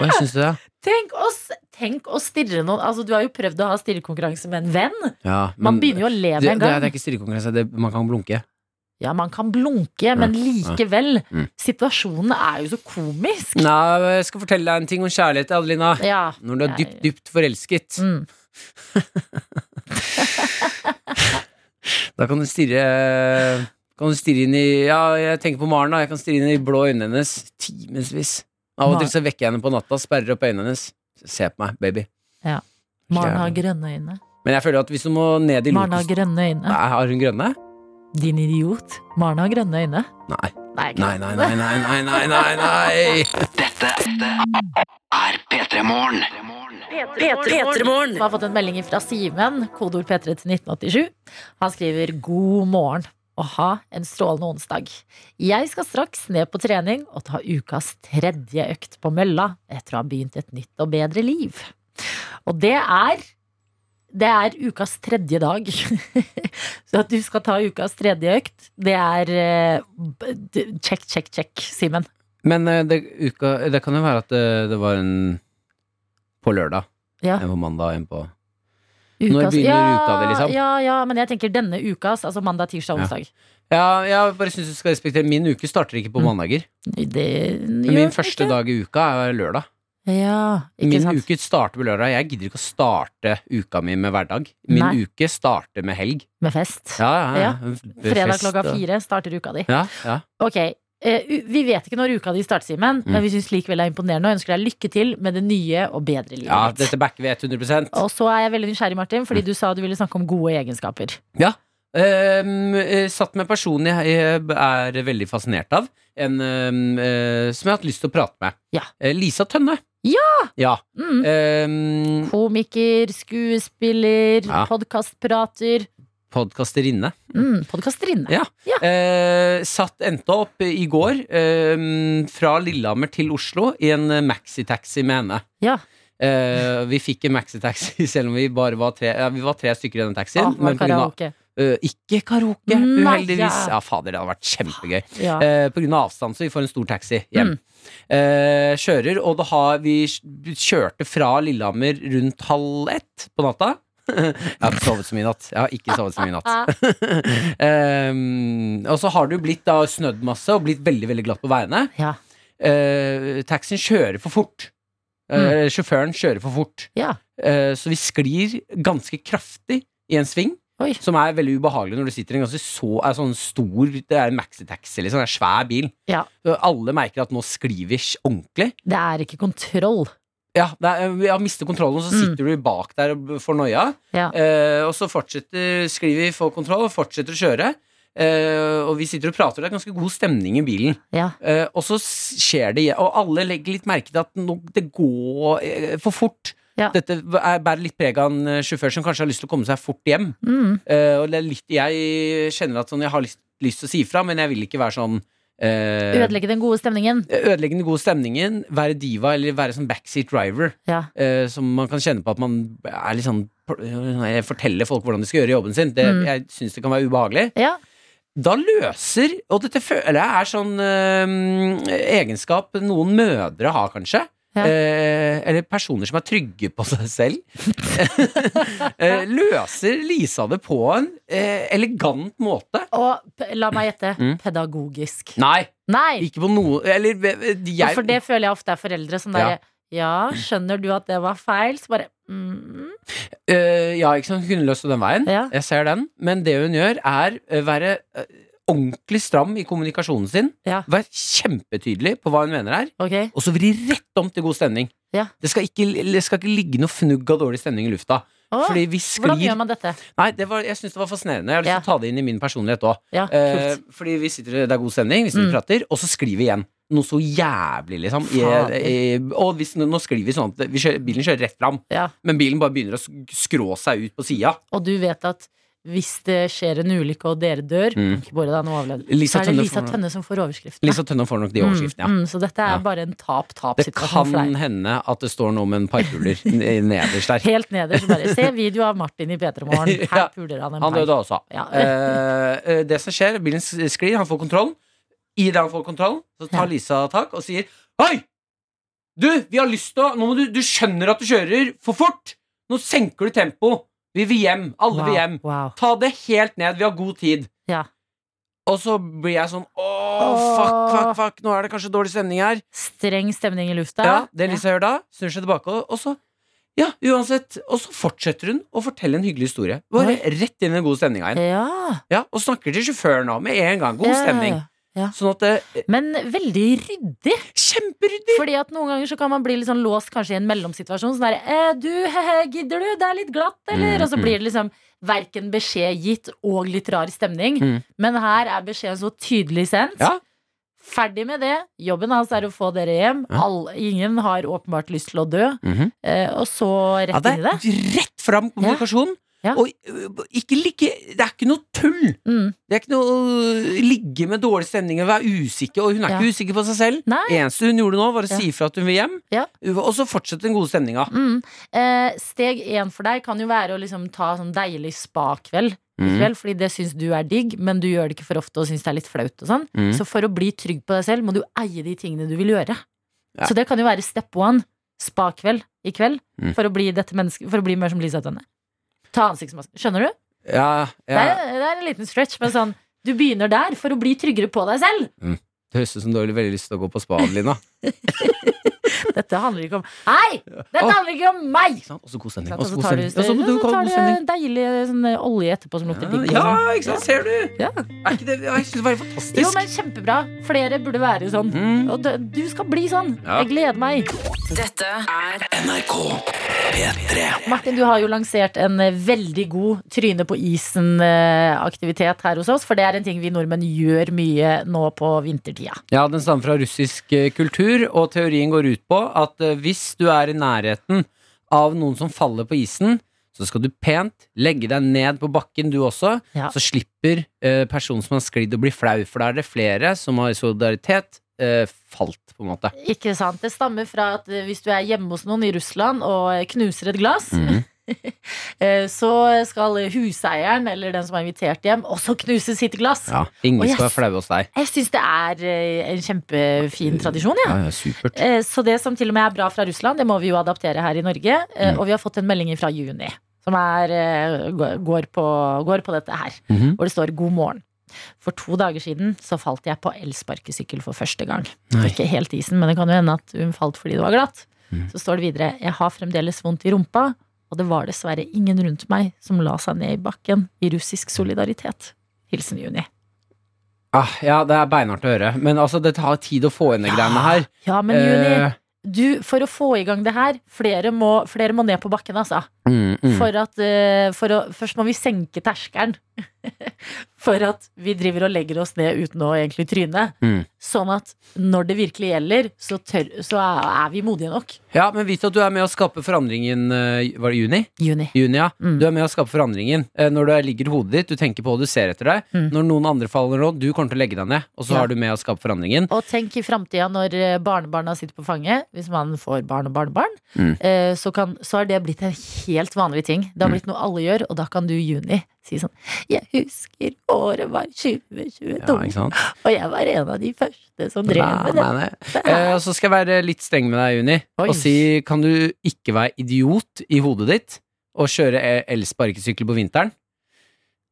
S3: Å, jeg syns du det?
S2: Tenk å, s- tenk å stirre noen Altså, du har jo prøvd å ha stirrekonkurranse med en venn.
S3: Ja,
S2: Man begynner jo å le
S3: det,
S2: med
S3: det,
S2: en
S3: er- det er
S2: gang.
S3: ikke stirrekonkurranse, det- man kan blunke.
S2: Ja, man kan blunke, men likevel.
S3: Mm.
S2: Situasjonen er jo så komisk.
S3: Nei, jeg skal fortelle deg en ting om kjærlighet, Adelina.
S2: Ja.
S3: Når du er
S2: Nei.
S3: dypt, dypt forelsket,
S2: Mm.
S3: da kan du stirre Kan du stirre inn i Ja, jeg tenker på Maren, da. Jeg kan stirre inn i blå øynene hennes timevis. Av og til så vekker jeg henne på natta, sperrer opp øynene hennes. Se på meg, baby.
S2: Maren har grønne øyne.
S3: Men jeg føler at hvis du må ned i
S2: Maren har
S3: lotus
S2: grønne øyne.
S3: Nei, Har hun grønne?
S2: Din idiot. Maren har grønne øyne.
S3: Nei.
S2: Nei, ikke
S3: Nei, nei, nei, nei, nei, nei, nei, nei.
S4: er P3 Morgen.
S5: Petremorgen.
S2: Vi har fått en melding fra Simen, kodeord P3 til 1987. Han skriver 'God morgen' og ha en strålende onsdag. Jeg skal straks ned på trening og ta ukas tredje økt på mølla etter å ha begynt et nytt og bedre liv. Og det er det er ukas tredje dag. *laughs* Så at du skal ta ukas tredje økt, det er eh, b- d- Check, check, check, Simen.
S3: Men eh, det, uka, det kan jo være at det, det var en på lørdag,
S2: Ja.
S3: en på mandag, en på
S2: Ukas-
S3: begynner uka di, liksom?
S2: Ja, ja, men jeg tenker denne ukas, altså mandag, tirsdag,
S3: Ja.
S2: onsdag.
S3: Ja, jeg bare syns du skal respektere Min uke starter ikke på
S2: Mm.
S3: mandager.
S2: Det
S3: Men
S2: gjør
S3: min
S2: den
S3: første
S2: ikke.
S3: dag i uka er lørdag.
S2: Ja, ikke
S3: min
S2: sant?
S3: uke starter på lørdag. Jeg gidder ikke å starte uka mi med hverdag. Min
S2: Nei.
S3: uke starter med helg.
S2: Med fest.
S3: Ja, ja, ja.
S2: Fredag
S3: Fest
S2: klokka
S3: og-
S2: fire starter uka di.
S3: Ja, ja.
S2: Ok, eh, u- Vi vet ikke når uka di starter, Simen,
S3: Mm.
S2: men vi syns likevel det er imponerende og ønsker deg lykke til med det nye og bedre livet.
S3: Ja,
S2: ditt.
S3: dette backer vi 100
S2: Og så er jeg veldig nysgjerrig, Martin, fordi du sa du ville snakke om gode egenskaper.
S3: Ja. Ehm, eh, satt med en person jeg eh, er veldig fascinert av, en, ehm, eh, som jeg har hatt lyst til å prate med.
S2: Ja.
S3: Eh, Lisa Tønne.
S2: Ja!
S3: Ja.
S2: Mm.
S3: Ehm,
S2: Komiker, skuespiller,
S3: Ja.
S2: podkastprater.
S3: Podkasterinne.
S2: Mm, Podkasterinne.
S3: Ja. Eh, satt endte opp i går ehm, fra Lillehammer til Oslo i en eh, maxitaxi med henne.
S2: Ja.
S3: Eh, vi fikk en maxitaxi *laughs* selv om vi bare var tre, ja, vi var tre stykker i den taxien.
S2: Ah,
S3: men på grunn av-
S2: karaoke.
S3: Eh, ikke karaoke,
S2: Nei,
S3: uheldigvis.
S2: ja.
S3: Ja, fader, det hadde vært kjempegøy.
S2: Ja. Mm.
S3: Eh, på grunn av avstand, så vi får en stor taxi hjem. Eh, kjører, og da har vi kj- kjørte fra Lillehammer rundt halv ett på natta. *laughs* Jeg har ikke sovet så mye i natt. Jeg har ikke sovet så mye i natt.
S2: *laughs*
S3: Ehm, og så har det jo blitt da snødd masse og blitt veldig veldig glatt på veiene.
S2: Ja.
S3: Eh, taxien kjører for fort. Eh, Sjåføren kjører for fort.
S2: Mm. ja.
S3: Eh, så vi sklir ganske kraftig i en sving.
S2: Oi.
S3: Som er veldig ubehagelig når du sitter i en ganske så, er sånn stor Det er en maxitaxi, liksom. Det er en svær bil.
S2: Ja.
S3: Så Alle merker at nå skriver vi sj- ordentlig.
S2: Det er ikke kontroll.
S3: Ja, det er, jeg mister kontrollen, og så
S2: Mm.
S3: sitter du bak der og får noia.
S2: Ja.
S3: Eh, og så fortsetter skriver vi, får kontroll, og fortsetter å kjøre. Eh, og vi sitter og prater, og det er ganske god stemning i bilen.
S2: Ja.
S3: Eh, og så s- skjer det igjen, og alle legger litt merke til at nå, det går eh, for fort.
S2: Ja.
S3: Dette er, bærer litt preg av en eh, sjåfør som kanskje har lyst til å komme seg fort hjem.
S2: Mm.
S3: Eh, og det er litt, jeg kjenner at sånn, jeg har lyst, lyst til å si ifra, men jeg vil ikke være sånn eh,
S2: Ødelegge den gode stemningen.
S3: Ødelegge den gode stemningen, være diva eller være sånn backseat driver.
S2: Ja.
S3: eh, som man kan kjenne på at man er litt sånn eh, Forteller folk hvordan de skal gjøre jobben sin. Det,
S2: Mm.
S3: Jeg syns det kan være ubehagelig.
S2: Ja.
S3: Da løser Og dette føler jeg er sånn eh, egenskap noen mødre har, kanskje.
S2: Ja.
S3: Eh, eller personer som er trygge på seg selv. *laughs* eh, løser Lisa det på en eh, elegant måte?
S2: Og p- la meg gjette
S3: Mm.
S2: pedagogisk.
S3: Nei,
S2: Nei!
S3: ikke på noe Eller eh, jeg
S2: For det føler jeg ofte er foreldre som
S3: Ja.
S2: derre ja. skjønner du at det var feil? Så bare mm,
S3: Eh, Ja, ikke sant, hun kunne løst det den veien.
S2: Ja.
S3: Jeg ser den. Men det hun gjør, er eh, være eh, ordentlig stram i kommunikasjonen sin.
S2: Ja.
S3: Være kjempetydelig på hva hun mener her.
S2: Ok.
S3: og så vri rett om til god stemning.
S2: Ja.
S3: Det, skal ikke, det skal ikke ligge noe fnugg av dårlig stemning i lufta.
S2: Å,
S3: Fordi vi
S2: hvordan gjør
S3: sklir
S2: man dette?
S3: Nei, det var, jeg syns det var fascinerende. Jeg har lyst til å ta det inn i min personlighet òg.
S2: Ja,
S3: Eh,
S2: kult.
S3: fordi vi sitter, det er god stemning, vi sitter og
S2: Mm.
S3: prater, og så sklir vi igjen. Noe så jævlig, liksom. I,
S2: Fader.
S3: i, og hvis, nå sklir vi sånn at vi kjører, bilen kjører rett fram,
S2: Ja.
S3: men bilen bare begynner å sk- skrå seg ut på sida.
S2: Og du vet at hvis det skjer en ulykke og dere dør,
S3: Mm.
S2: ikke bare da nå overlevde,
S3: Lisa
S2: så er det
S3: Tønne
S2: Lisa
S3: får-
S2: Tønne som får overskriften.
S3: Lisa Tønne får nok de overskriftene, ja.
S2: Mm, sånn mm, så dette er
S3: Ja.
S2: bare en
S3: Det
S2: tap-tap-situasjon for
S3: kan
S2: deg.
S3: hende at det står noe om en *laughs* parpuler n- nederst der.
S2: Helt nederst bare Se video av Martin i P3 Morgen. Her
S3: *laughs* Ja.
S2: puler han en
S3: Han
S2: pai.
S3: døde også.
S2: Ja.
S3: Eh, eh, det som skjer, bilen s- sklir, han får kontroll. I det han får kontroll, så
S2: Ja.
S3: tar Lisa tak og sier Hei! Du, vi har lyst til å Nå må du Du skjønner at du kjører for fort! Nå senker du tempo Vi vil hjem. Alle vil hjem.
S2: Wow. wow.
S3: Ta det helt ned. Vi har god tid.
S2: Ja.
S3: Og så blir jeg sånn Åh,
S2: Åh.
S3: fuck, fuck, fuck. Nå er det kanskje dårlig stemning her.
S2: Streng stemning i lufta.
S3: Ja, det Lisa gjør da, snur seg tilbake, og- og så Ja, uansett. Og så fortsetter hun å fortelle en hyggelig historie. Bare rett inn i den gode stemninga igjen.
S2: Ja.
S3: Ja, og snakker til sjåføren òg, med en gang. God
S2: Ja, ja,
S3: stemning.
S2: ja. ja.
S3: Sånn at det eh,
S2: Men veldig ryddig.
S3: Kjemperyddig!
S2: Fordi at noen ganger så kan man bli litt sånn låst kanskje i en mellomsituasjon. Sånn der, eh, du, hehe, gidder du? Det er litt glatt, eller?
S3: Mm,
S2: og så
S3: mm.
S2: blir det liksom verken beskjed gitt og litt rar stemning.
S3: Mm.
S2: Men her er beskjeden så tydelig sendt.
S3: Ja.
S2: Ferdig med det. Jobben hans er å få dere hjem.
S3: Ja.
S2: Alle, ingen har åpenbart lyst til å dø.
S3: Mhm.
S2: Eh, og så rett
S3: Ja, det
S2: inn i det.
S3: er rett fram kommunikasjon.
S2: Ja.
S3: Og ø, ikke ligge Det er ikke noe tull!
S2: Mm.
S3: Det er ikke noe ø, ligge med dårlig stemning og være usikker. Og hun er
S2: Ja.
S3: ikke usikker på seg selv.
S2: Nei.
S3: Det eneste hun gjorde nå, var å
S2: Ja.
S3: si ifra at hun vil hjem,
S2: Ja.
S3: og så fortsette den gode stemninga.
S2: Mm. Eh, steg én for deg kan jo være å liksom ta sånn deilig spakveld.
S3: Mm.
S2: kveld, Fordi det syns du er digg, men du gjør det ikke for ofte og syns det er litt flaut. og sånn
S3: Mm.
S2: Så for å bli trygg på deg selv må du eie de tingene du vil gjøre.
S3: Ja.
S2: Så det kan jo være step one. Spakveld i kveld.
S3: Mm.
S2: For, å bli dette menneske, for å bli mer som Lisa Tønne. Ta ansiktsmaske. Skjønner du?
S3: Ja,
S2: Det,
S3: ja.
S2: er, det er en liten stretch, men sånn du begynner der for å bli tryggere på deg selv.
S3: Det høres ut som du har veldig lyst til å gå på spa, Lina.
S2: Dette handler ikke om Hei! Dette handler ikke om meg!
S3: *laughs* Ikke sant? Også god stemning.
S2: Og
S3: Også
S2: så
S3: god
S2: tar du,
S3: stemning. Også god-
S2: så tar
S3: god stemning.
S2: du deilig sånn, olje etterpå som lukter digg. og
S3: Ja,
S2: sånn.
S3: ikke sant? Ser du?
S2: Ja.
S3: Er ikke det, jeg synes det var helt
S2: Jo,
S3: fantastisk.
S2: men kjempebra. Flere burde være sånn.
S3: Mm.
S2: Og du, du skal bli sånn.
S3: Ja.
S2: Jeg gleder meg.
S5: Dette er
S4: NRK P3
S2: Martin, du har jo lansert en eh, veldig god tryne på isen-aktivitet her hos oss. For det er en ting vi nordmenn gjør mye nå på vintertida.
S3: Ja, den stammer fra russisk eh, kultur, og teorien går ut på at eh, hvis du er i nærheten av noen som faller på isen, så skal du pent legge deg ned på bakken du også,
S2: Ja.
S3: så slipper eh, personen som har sklidd å bli flau, for da er det flere som har i solidaritet eh, falt, på en måte.
S2: Ikke sant? Det stammer fra at eh, hvis du er hjemme hos noen i Russland og eh, knuser et glass,
S3: Mm.
S2: eh, så skal huseieren eller den som er invitert hjem, også knuse sitt glass.
S3: Ja, ingen
S2: Å, yes.
S3: skal være flaue hos deg.
S2: Jeg syns det er eh, en kjempefin tradisjon, jeg.
S3: Ja, ja, supert.
S2: Eh, Så det som til og med er bra fra Russland, det må vi jo adaptere her i Norge. Eh,
S3: Mm.
S2: Og vi har fått en melding fra Juni som er, eh, gå- går, på, går på dette her,
S3: Mhm.
S2: hvor det står 'God morgen'. For to dager siden så falt jeg på elsparkesykkel for første gang.
S3: Nei.
S2: Ikke helt isen, men det kan jo hende at hun falt fordi det var glatt.
S3: Mm.
S2: Så står det videre 'Jeg har fremdeles vondt i rumpa', og det var dessverre ingen rundt meg som la seg ned i bakken i russisk solidaritet. Hilsen Juni.
S3: Ah, ja, det er beinhardt å høre, men altså, det tar tid å få inn de greiene her.
S2: Ja, men Juni,
S3: Eh,
S2: du, for å få i gang det her, flere må, flere må ned på bakken, altså.
S3: mm, mm.
S2: For at, eh, for å, først må vi senke terskelen. *laughs* for at vi driver og legger oss ned uten å egentlig tryne.
S3: Mm.
S2: Sånn at når det virkelig gjelder, så, tør, så er er vi modige nok.
S3: Ja, men vit at du er med å skape forandringen, eh, var det juni?
S2: Juni.
S3: Junia,
S2: Mm.
S3: du er med å skape forandringen. Eh, Når du ligger i hodet ditt, du tenker på hva du ser etter deg.
S2: Mm.
S3: Når noen andre faller nå, du kommer til å legge deg ned, og så
S2: Ja.
S3: har du med å skape forandringen.
S2: Og tenk i framtida når eh, barnebarna sitter på fanget, hvis man får barn og barnebarn,
S3: Mm.
S2: eh, så, kan, så har det blitt en helt vanlig ting. Det har blitt noe alle gjør, og da kan du i juni si sånn Jeg husker året var 2022,
S3: Ja, ikke sant?
S2: og jeg var en av de første som drev med det.
S3: Nei, nei. Eh, Så skal jeg være litt streng med deg, Juni,
S2: Oi.
S3: og si kan du ikke være idiot i hodet ditt og kjøre e- elsparkesykkel på vinteren?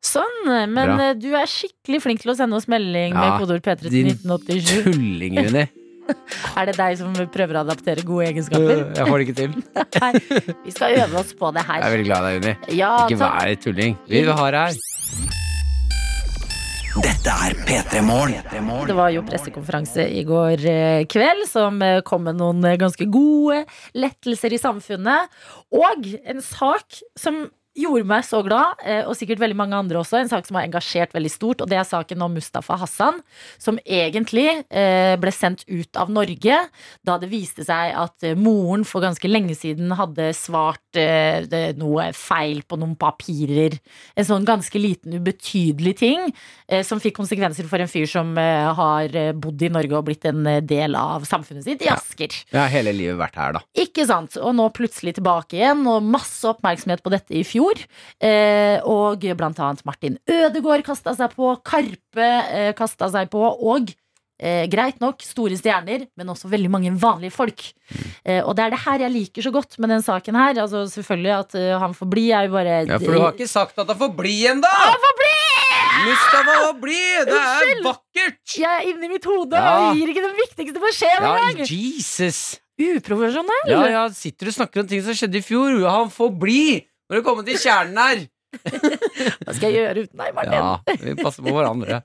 S2: Sånn, men
S3: Bra.
S2: eh, du er skikkelig flink til å sende oss melding
S3: Ja,
S2: med kodeord P3 til
S3: Din
S2: 1987.
S3: tulling,
S2: *laughs*
S3: Juni.
S2: Er det deg som prøver å adaptere gode egenskaper?
S3: *laughs* Jeg får det ikke til. Jeg
S2: Nei, vi skal øve oss på det
S3: er
S2: her.
S3: veldig glad i deg, Juni.
S2: Ja,
S3: Ikke
S2: takk.
S3: vær tulling. Vi har her.
S4: Dette er P3 Morgen
S2: Det var jo pressekonferanse i går eh, kveld som eh, kom med noen eh, ganske gode lettelser i samfunnet. Og en sak som gjorde meg så glad, eh, og sikkert veldig mange andre også, en sak som har engasjert veldig stort, og det er saken om Mustafa Hassan, som egentlig eh, ble sendt ut av Norge da det viste seg at eh, moren for ganske lenge siden hadde svart eh, det- noe feil på noen papirer. En sånn ganske liten, ubetydelig ting eh, som fikk konsekvenser for en fyr som eh, har eh, bodd i Norge og blitt en eh, del av samfunnet sitt i Asker.
S3: Jeg har hele livet vært her, da.
S2: Ikke sant? Og nå plutselig tilbake igjen, og masse oppmerksomhet på dette i fjor. Eh, og blant annet Martin Ødegaard kasta seg på, Karpe eh, kasta seg på, og eh, greit nok store stjerner, men også veldig mange vanlige folk. Eh, og det er det her jeg liker så godt med den saken her. Altså Selvfølgelig at eh, han får bli, er jo bare
S3: Ja, for du har ikke sagt at han får bli ennå! Han får bli! Mustafa får bli! Det er vakkert!
S2: Jeg er inni mitt hode
S3: Ja.
S2: og gir ikke den viktigste beskjeden
S3: Ja,
S2: engang!
S3: Jesus!
S2: Uprofesjonell!
S3: Ja, ja, sitter og snakker om ting som skjedde i fjor. Han får bli! Når du kommer til kjernen her.
S2: Hva skal jeg gjøre uten deg, Martin?
S3: Ja, vi passer på
S2: *laughs*
S3: hverandre.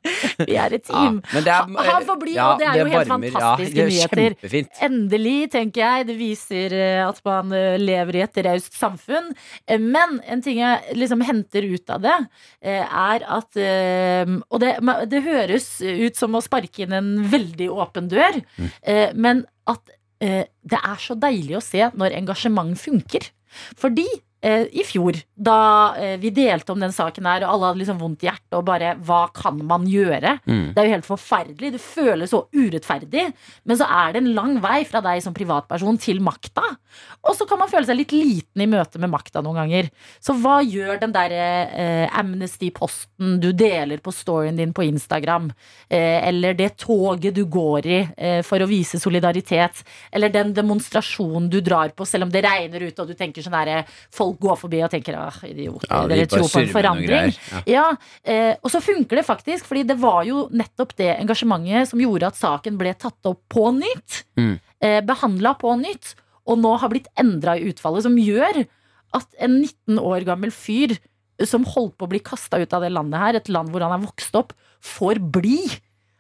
S2: Vi er et
S3: Ja,
S2: team.
S3: men det
S2: Han- han får bli, og det er jo helt fantastiske
S3: det er
S2: nyheter.
S3: Kjempefint.
S2: Endelig, tenker jeg. Det viser eh, at man eh, lever i et raust samfunn. Eh, Men en ting jeg liksom henter ut av det, eh, er at eh, Og det, ma- det høres ut som å sparke inn en veldig åpen dør, eh, men at eh, det er så deilig å se når engasjement funker. Fordi eh, i fjor, da eh, vi delte om den saken her, og alle hadde liksom vondt i hjertet, og bare Hva kan man gjøre?
S3: Mm.
S2: Det er jo helt forferdelig. Det føles så urettferdig. Men så er det en lang vei fra deg som privatperson til makta. Og så kan man føle seg litt liten i møte med makta noen ganger. Så hva gjør den derre eh, Amnesty-posten du deler på storyen din på Instagram, eh, eller det toget du går i eh, for å vise solidaritet, eller den demonstrasjonen du drar på selv om det regner ute og du tenker sånn derre Folk går forbi og tenker ah, idioter,
S3: Ja, de
S2: dere
S3: bare
S2: tror på
S3: surmer
S2: en
S3: noen
S2: forandring.
S3: greier. Ja.
S2: Ja, eh, og så funker det faktisk, fordi det var jo nettopp det engasjementet som gjorde at saken ble tatt opp på nytt.
S3: Mm.
S2: eh, behandla på nytt, og nå har blitt endra i utfallet, som gjør at en 19 år gammel fyr som holdt på å bli kasta ut av det landet her, et land hvor han er vokst opp, får bli.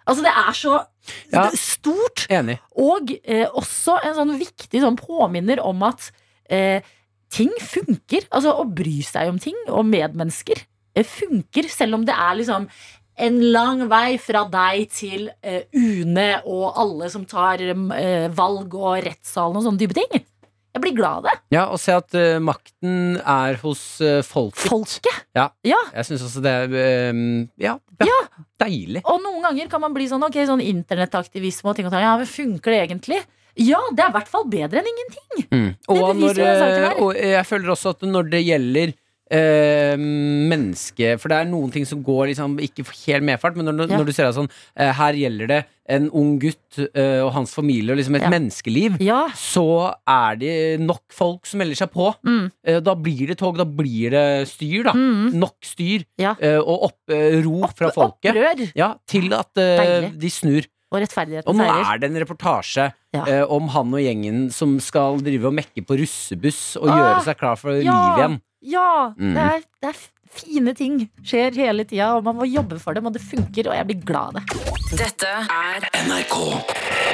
S2: Altså, det er så
S3: Ja.
S2: stort.
S3: Enig.
S2: Og eh, også en sånn viktig sånn påminner om at eh, ting funker. Altså å bry seg om ting og medmennesker eh, funker, selv om det er liksom en lang vei fra deg til eh, UNE og alle som tar eh, valg og rettssalen og sånne type ting. Jeg blir glad av det.
S3: Ja, og se at eh, makten er hos uh, folket.
S2: Folket.
S3: Jeg syns også det er eh, ja, ja, deilig.
S2: Og noen ganger kan man bli sånn ok, sånn internettaktivisme og ting og tang. Ja, men funker det egentlig? Ja, det er i hvert fall bedre enn ingenting.
S3: Mm. Og,
S2: beviser jo
S3: når,
S2: den saken her.
S3: eh, og jeg føler også at når det gjelder eh, menneske For det er noen ting som går liksom ikke helt medfart, men når,
S2: Ja.
S3: når du ser det sånn eh, Her gjelder det en ung gutt eh, og hans familie og liksom et
S2: Ja.
S3: menneskeliv.
S2: Ja.
S3: Så er det nok folk som melder seg på.
S2: Mm.
S3: Eh, Da blir det tog, da blir det styr, da.
S2: Mm.
S3: Nok styr
S2: Ja.
S3: eh, og opp, eh, ro fra folket.
S2: Opprør
S3: Ja, til at eh,
S2: Deilig.
S3: de snur.
S2: og
S3: Og
S2: rettferdigheten
S3: nå
S2: seier.
S3: er det en reportasje
S2: Ja.
S3: eh, om han og gjengen som skal drive og mekke på russebuss og
S2: Ah,
S3: gjøre seg klar for
S2: ja.
S3: liv igjen.
S2: Ja,
S3: Mm.
S2: det, er, det er fine ting skjer hele tida, og man må jobbe for dem, og det funker, og jeg blir glad av det.
S5: Dette er
S4: NRK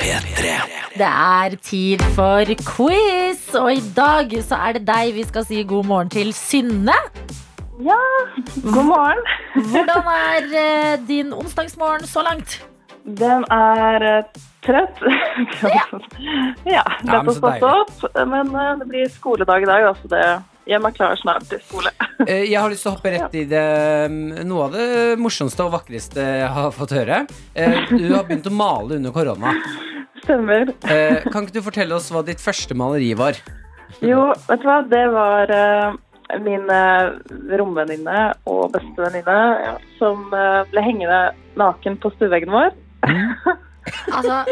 S4: P3
S2: Det er tid for quiz, og i dag så er det deg vi skal si god morgen til, Synne.
S7: God morgen.
S2: Hvordan er eh, din onsdagsmorgen så langt?
S7: Den er eh, trøtt. *laughs* ja,
S3: Ja, men
S7: lett å
S3: så
S7: stått opp. Men eh, det blir skoledag i dag, da, så det, jeg meg klar snart til skole.
S3: Eh, Jeg har lyst til å hoppe rett i det mm, noe av det morsomste og vakreste jeg har fått høre. Eh, Du har begynt å male under korona.
S7: Stemmer.
S3: Eh, Kan ikke du fortelle oss hva ditt første maleri var?
S7: Jo, vet du hva, det var eh, min eh, romvenninne og bestevenninne ja, som eh, ble hengende naken på stueveggen vår.
S2: Altså,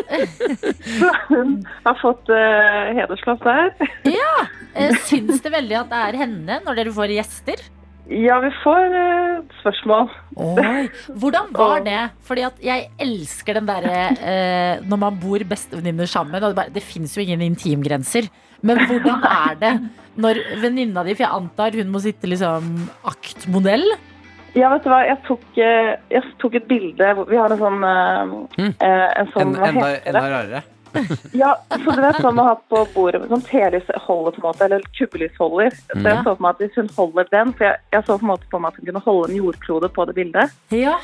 S7: Så hun har fått eh, hedersplass der.
S2: eh, syns det veldig at det er henne når dere får gjester?
S7: Ja, vi får eh, spørsmål.
S2: Oi. *laughs* Hvordan var det? Fordi at jeg elsker den derre eh, når man bor bestevenninner sammen. Og det, bare- det fins jo ingen intimgrenser. Men hvordan er det når venninna di, for jeg antar hun må sitte liksom aktmodell
S7: Ja, vet du hva, jeg tok, eh, jeg tok et bilde hvor- Vi har en sånn eh,
S3: Mm.
S7: eh, En
S3: En,
S7: sånn, hva
S3: enda,
S7: heter
S3: enda
S7: det?
S3: rarere.
S7: Ja, så du vet sånn å ha på bordet Sånn telysholder på en måte, eller kubbelysholder Så
S3: Hmm.
S7: jeg så for meg at hvis hun holder den For jeg, jeg så på en måte på meg at hun kunne holde en jordklode på det bildet
S2: Ja.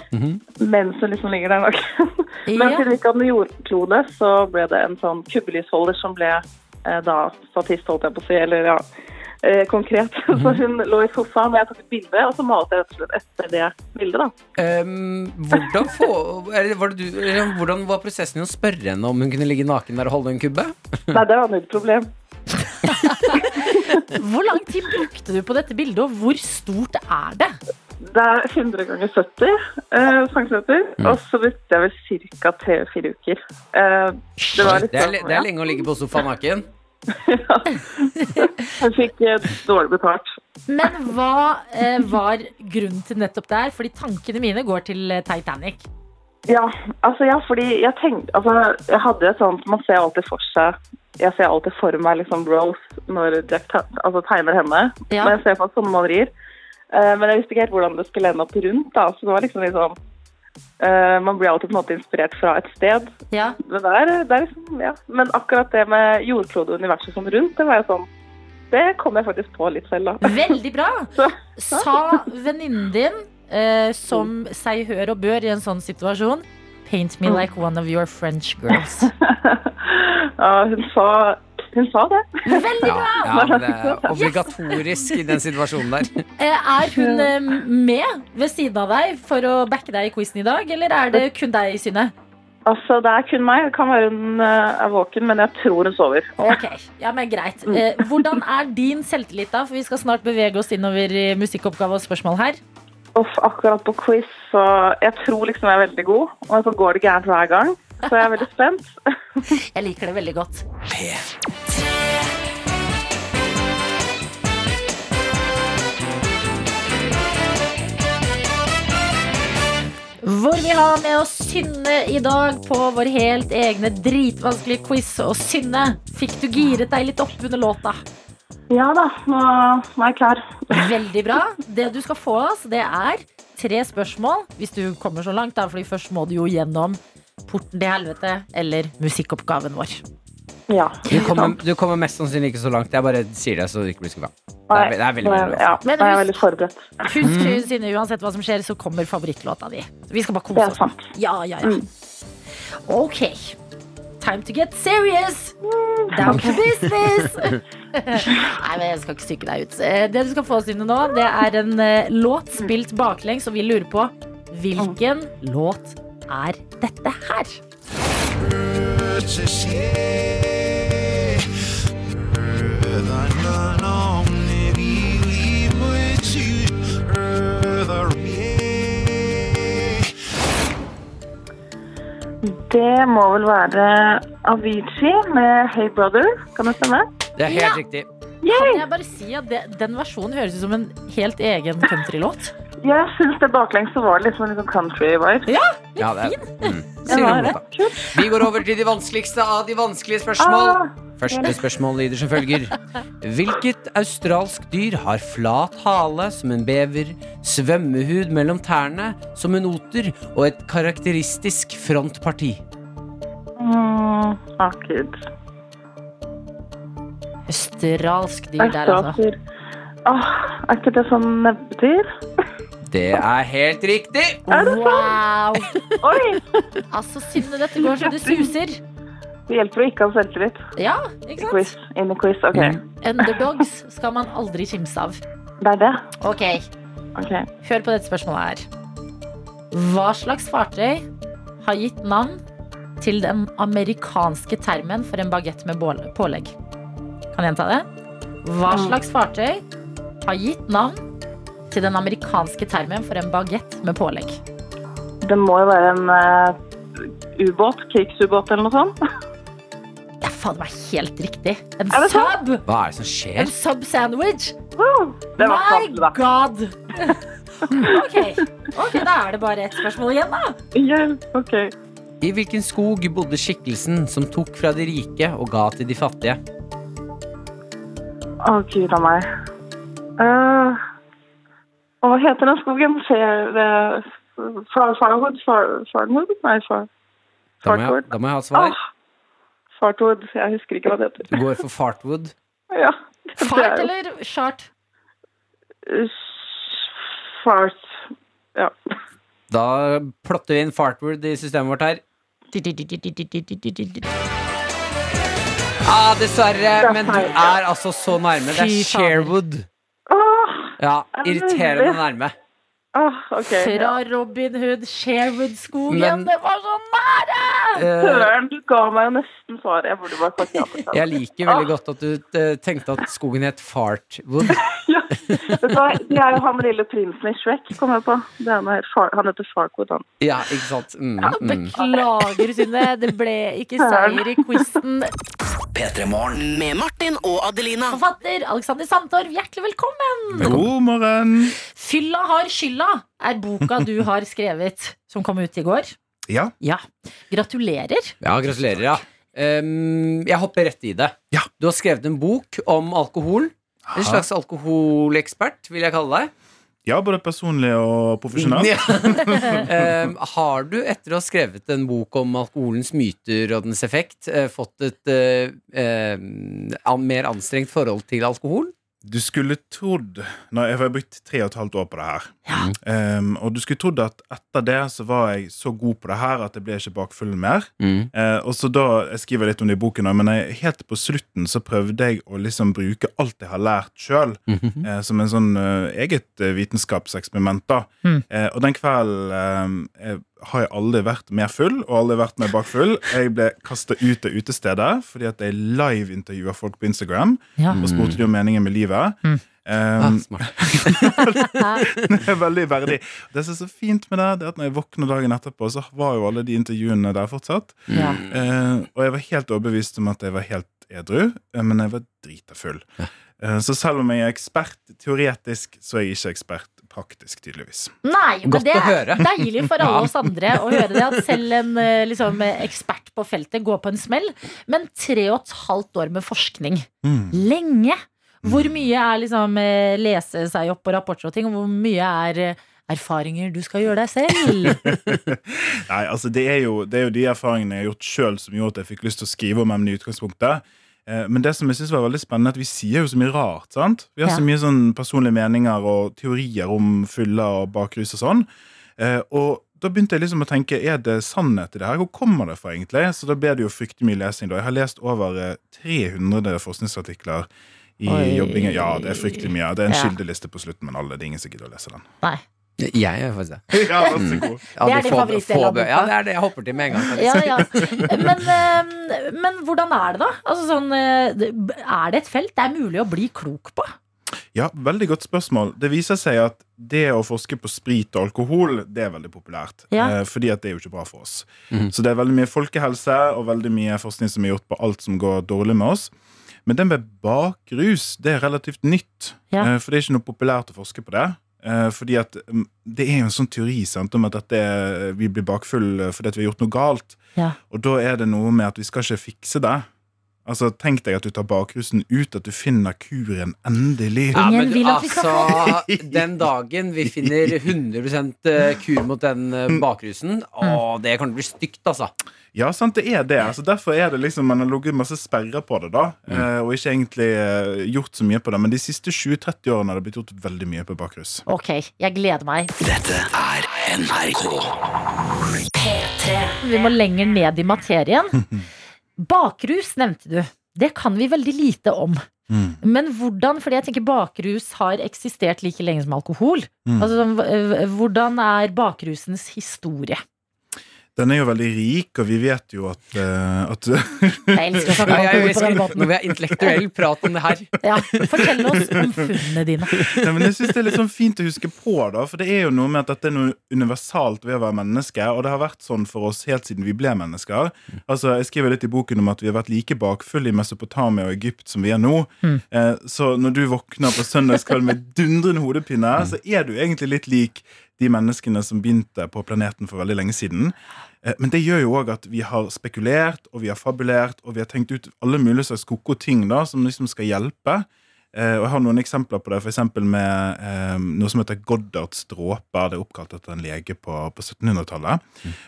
S7: Mens hun liksom ligger der nok *laughs* Men
S2: ja.
S7: siden vi ikke hadde en jordklode Så ble det en sånn kubbelysholder som ble eh, Da statist holdt jeg på å si Eller ja, eh, konkret *laughs* Så
S3: Hmm.
S7: hun lå i sofaen, og jeg tok et bilde Og så malte jeg rett og slett etter det bildet da
S3: Um, hvordan, få, eller var det du, eller hvordan var prosessen i å spørre henne om hun kunne ligge naken der og holde en kubbe?
S7: Nei, det var null problem.
S2: Hvor lang tid brukte du på dette bildet, og hvor stort er det?
S7: Det er 100 ganger 70 eh, centimeter,
S3: Mm.
S7: og så brukte jeg vel ca. 3-4 uker. Eh, det var litt
S3: Det er, le-
S7: sånn,
S3: det
S7: ja.
S3: er lenge å ligge på sofaen naken.
S7: Jeg fikk eh, dårlig betalt.
S2: Men hva eh, var grunnen til nettopp det her? Fordi tankene mine går til eh, Titanic.
S7: Ja, altså ja, fordi jeg tenkte Altså, jeg hadde et sånt Man ser alltid for seg Jeg ser alltid for meg liksom Rose når Jack te altså, tegner henne.
S2: Ja.
S7: Når jeg ser på sånne malerier. Eh, men jeg visste ikke helt hvordan det skulle ende opp rundt, da. Så det var liksom litt sånn eh, Man blir alltid på en måte inspirert fra et sted.
S2: Ja.
S7: det der, det er liksom, ja. Men akkurat det med jordklode og universet som rundt, det var jo sånn Det kom jeg faktisk på litt selv, da. *laughs*
S2: Veldig bra!
S7: Så-
S2: Sa venninnen din, eh, som seg hør og bør i en sånn situasjon, Paint me like one of your French girls.
S7: Ja, hun sa Hun sa det.
S2: Veldig
S3: Ja,
S2: bra!
S3: ja, men det
S7: sånn,
S3: er obligatorisk i den situasjonen der.
S2: Eh, er hun eh, med ved siden av deg for å backe deg i quizen i dag, eller er det kun deg, Synne?
S7: Altså, det er kun meg. Det kan være hun eh, er våken, men jeg tror hun sover.
S2: Ok, ja, men greit. Eh, hvordan er din selvtillit, da? For vi skal snart bevege oss innover i musikkoppgave og spørsmål her.
S7: Uff, akkurat på quiz, så jeg tror liksom jeg er veldig god, og så går det gærent hver gang. Så jeg er veldig spent. *laughs*
S2: Jeg liker det veldig godt. Hvor vi har med oss Synne i dag på vår helt egne dritvanskelige quiz. Og Synne, fikk du giret deg litt opp under låta?
S7: Ja da, nå, nå er jeg klar.
S2: Veldig bra. Det du skal få av oss, det er tre spørsmål. Hvis du kommer så langt, da, fordi først må du jo gjennom Porten til helvete eller musikkoppgaven vår.
S7: Ja.
S3: Du kommer, du kommer mest sannsynlig ikke så langt. Jeg bare sier det, så du ikke blir skuffa. Det er, ve- det er veldig altså.
S7: Nå
S3: bra.
S7: er jeg- Ja,
S2: Men
S7: nå er jeg
S2: husk-
S7: veldig forberedt.
S2: Husk,
S7: Mm.
S2: Synne, uansett hva som skjer, så kommer favorittlåta di. Vi skal bare
S7: Det
S2: kose
S7: er
S2: oss.
S7: sant.
S2: Ja, ja, ja. Ok. Time to get serious. Down to
S7: *laughs*
S2: business. Nei, men jeg skal ikke psyke deg ut. Eh, Det du skal få, Synne, nå, det er en eh, låt spilt baklengs, og vi lurer på hvilken låt er dette her?
S7: Det må vel være Avicii med Hey Brother. Kan det stemme?
S3: Det er helt riktig.
S2: Kan jeg bare si at det, den versjonen høres ut som en helt egen countrylåt?
S7: Jeg syns det baklengs så var det liksom en litt sånn country-vibe.
S3: Ja, det er, mm. Sier du
S7: var
S3: imot,
S7: det.
S3: da. Vi går over til de vanskeligste av de vanskelige
S7: Ah!
S3: spørsmål. Første spørsmål lyder som følger. Hvilket australsk dyr har flat hale som en bever, svømmehud mellom tærne som en oter og et karakteristisk frontparti?
S7: Mm, ah, gud.
S2: Australsk dyr der, altså.
S7: Østeraser. Åh, Ah, er ikke det sånn nebbedyr?
S3: Det er helt riktig!
S2: Wow!
S7: Oi!
S2: Altså, Synne, dette går så det suser.
S7: Det hjelper å ikke ha selvtillit.
S2: Ja, ikke sant?
S7: Quiz, inn i quiz. Ok,
S2: Mm. Underdogs skal man aldri kimse av.
S7: det er det.
S2: Ok,
S7: Ok.
S2: Hør på dette spørsmålet her. Hva slags fartøy har gitt navn til den amerikanske termen for en bagett med bål- pålegg? Kan jeg gjenta det? Hva slags fartøy har gitt navn til den amerikanske termen for en bagett med pålegg?
S7: Det må jo være en eh, ubåt, krigsubåt eller noe sånt.
S2: Ja, faen, det var helt riktig. En
S7: Er det sant?
S2: sub!
S3: Hva er det som skjer?
S2: En sub-sandwich!
S7: Wow, Det var
S2: My
S7: sant, da.
S2: god! *laughs* Ok, ok, da er det bare ett spørsmål igjen, da.
S7: Hjelp, ok.
S3: I hvilken skog bodde skikkelsen som tok fra de rike og ga til de fattige?
S7: Å, gud av meg. Eh, og hva heter den skogen? Fair, eh, Far- Farwood? Far- Farnwood? Nei, Far-
S3: Da må jeg,
S7: Fartwood.
S3: da må jeg ha et svar.
S7: Ah, Fartwood. Jeg husker ikke hva det heter.
S3: Du går for Fartwood.
S7: Ja. Det
S2: Fart
S7: er-
S2: eller shart?
S7: Fart. Ja.
S3: Da plotter vi inn Fartwood i systemet vårt her. Ah, dessverre, men du er altså så nærme. Det
S2: Fy
S3: er
S2: fader.
S3: Sherwood.
S7: Åh,
S3: Ja, irriterende nærme.
S7: åh, Ah, ok.
S2: Fra Robin Hood, Sherwood-skogen.
S3: Men-
S2: Det var så nære!
S3: Eh,
S7: Søren, du ga meg jo nesten svaret. Jeg burde bare sagt ja.
S3: *laughs*
S7: til det.
S3: jeg liker veldig godt at du eh, tenkte at skogen het Fartwood.
S7: Vet du hva, Det er jo han lille prinsen i Shrek, kom jeg på. Det er noe helt far, han heter Farquid, han.
S3: Ja, ikke sant? Mm, mm.
S2: Beklager, Synne. Det ble ikke seier i quizen.
S4: P3morgen.
S5: Med Martin og Adelina.
S2: Forfatter Alexander Sandtorv, hjertelig velkommen.
S1: God morgen!
S2: Fylla har skylda er boka du har skrevet, som kom ut i går.
S1: Ja.
S2: Ja. Gratulerer.
S3: Ja, gratulerer, ja. Ehm, jeg hopper rett i det.
S1: Ja.
S3: Du har skrevet en bok om alkohol. En slags alkoholekspert, vil jeg kalle deg.
S1: Ja, både personlig og profesjonell.
S3: Ja. *laughs* Ehm, har du, etter å ha skrevet en bok om alkoholens myter og dens effekt, eh, fått et eh, eh, an- mer anstrengt forhold til alkohol?
S8: Du skulle trodd Nei, jeg har brukt tre og et halvt år på det her.
S2: Ja.
S8: Ehm, og du skulle trodd at etter det så var jeg så god på det her at jeg ble ikke bakfull mer. Eh, og så da, Jeg skriver litt om det i boken, nå, men jeg, helt på slutten så prøvde jeg å liksom bruke alt jeg har lært sjøl,
S3: Mhm.
S8: eh, som en sånn eh, eget eh, vitenskapseksperiment. da.
S2: Mm.
S8: Eh, og den kvelden eh, jeg har jeg aldri vært mer full, og aldri vært mer bakfull. Jeg ble kasta ut av utestedet fordi at jeg liveintervjua folk på Instagram
S2: Ja.
S8: og spurte de om meningen med livet.
S2: Mm.
S8: Eh,
S3: Ah, smart.
S8: det er *laughs* veldig verdig. Det som er så fint med det, det er at når jeg våkner dagen etterpå, så var jo alle de intervjuene der fortsatt.
S2: Ja.
S8: Eh, og jeg var helt overbevist om at jeg var helt edru, eh, men jeg var drita full. Eh, så selv om jeg er ekspert teoretisk, så er jeg ikke ekspert taktisk, tydeligvis.
S2: Nei, men
S3: Godt
S2: det
S3: å
S2: er
S3: høre.
S2: deilig for alle
S3: *laughs* Ja.
S2: oss andre å høre det at selv en eh, liksom, ekspert på feltet går på en smell. Men tre og et halvt år med forskning.
S3: Mm.
S2: Lenge! Hvor mye er liksom eh, lese seg opp på rapporter og ting, og hvor mye er eh, erfaringer du skal gjøre deg
S3: *laughs*
S2: selv?
S8: Nei, altså det er, jo, det er jo de erfaringene jeg har gjort sjøl som gjorde at jeg fikk lyst til å skrive om emnet i utgangspunktet. Eh, Men det som jeg synes var veldig spennende, er at vi sier jo så mye rart. sant? Vi har
S2: Ja.
S8: så mye sånn personlige meninger og teorier om fyller og bakrus og sånn. Eh, Og da begynte jeg liksom å tenke er det sannhet i det her? Hvor kommer det fra, egentlig? Så da ble det jo fryktelig mye lesing. da. Jeg har lest over eh, 300 forskningsartikler i
S2: Oi.
S8: jobbingen. Ja, det er fryktelig mye. Det er en
S2: Ja.
S8: kildeliste på slutten, men alle, det er ingen som gidder å lese den.
S2: Nei.
S3: Mm. Jeg gjør faktisk det.
S8: *laughs* Ja, vær
S2: Mm.
S8: så god.
S3: Ja,
S2: Det er
S3: de
S2: din
S3: få-
S2: favorittdel
S3: få
S2: av
S3: bø-
S2: boka.
S3: Ja, det er det jeg hopper til med en gang.
S2: Ja, ja. Men, eh, men hvordan er det, da? Altså, sånn, eh, det- er det et felt det er mulig å bli klok på?
S8: Ja, veldig godt spørsmål. Det viser seg at det å forske på sprit og alkohol, det er veldig populært.
S2: Ja.
S8: Eh, Fordi at det er jo ikke bra for oss.
S3: Mhm.
S8: Så det er veldig mye folkehelse og veldig mye forskning som er gjort på alt som går dårlig med oss. Men det med bakrus, det er relativt nytt.
S2: Ja.
S8: Eh, For det er ikke noe populært å forske på det. Eh, Fordi at mm, det er jo en sånn teori sant, om at dette er, vi blir bakfull eh, fordi at vi har gjort noe galt.
S2: Ja.
S8: Og da er det noe med at vi skal ikke fikse det. Altså, Tenk deg at du tar bakrusen ut, at du finner kuren endelig.
S3: Ja,
S2: Ingen
S3: men
S2: vil at vi skal
S3: altså, *laughs* den dagen vi finner 100 eh, kur mot den eh, bakrusen,
S2: Mm.
S3: å, det kan bli stygt, altså.
S8: Ja, sant, det er det. Altså, derfor er det liksom Man har ligget masse sperrer på det, da. eh, Og ikke egentlig eh, gjort så mye på det. Men de siste 20-30 årene har det blitt gjort veldig mye på bakrus.
S2: Ok, jeg gleder meg.
S4: Dette er NRK.
S2: Vi må lenger ned i
S4: *laughs*
S2: materien. Bakrus nevnte du. Det kan vi veldig lite om.
S8: Mm.
S2: Men hvordan, fordi jeg tenker bakrus har eksistert like lenge som alkohol.
S4: Mm.
S2: Altså, sånn, eh, hvordan er bakrusens historie?
S8: Den er jo veldig rik, og vi vet jo at, eh, at
S2: Jeg elsker å snakke
S3: *laughs*
S2: om
S3: Ja, jeg
S2: alkohol på
S3: elsker
S2: denne
S3: når
S2: båten.
S3: vi har intellektuell prat om det her.
S2: Ja, fortell oss om funnene dine.
S8: Nei, men jeg synes det er litt sånn fint å huske på, da. For det er jo noe med at dette er noe universalt ved å være menneske. Og det har vært sånn for oss helt siden vi ble mennesker. Altså, Jeg skriver litt i boken om at vi har vært like bakfulle i Mesopotamia og Egypt som vi er nå. Eh, så når du våkner på søndagskveld med dundrende hodepine, så er du egentlig litt lik de menneskene som begynte på planeten for veldig lenge siden. Eh, Men det gjør jo òg at vi har spekulert og vi har fabulert og vi har tenkt ut alle mulige slags koko ting da, som liksom skal hjelpe. Eh, og Jeg har noen eksempler på det, f.eks. med eh, noe som heter Goddards dråper. Det er oppkalt etter en lege på, på 1700-tallet.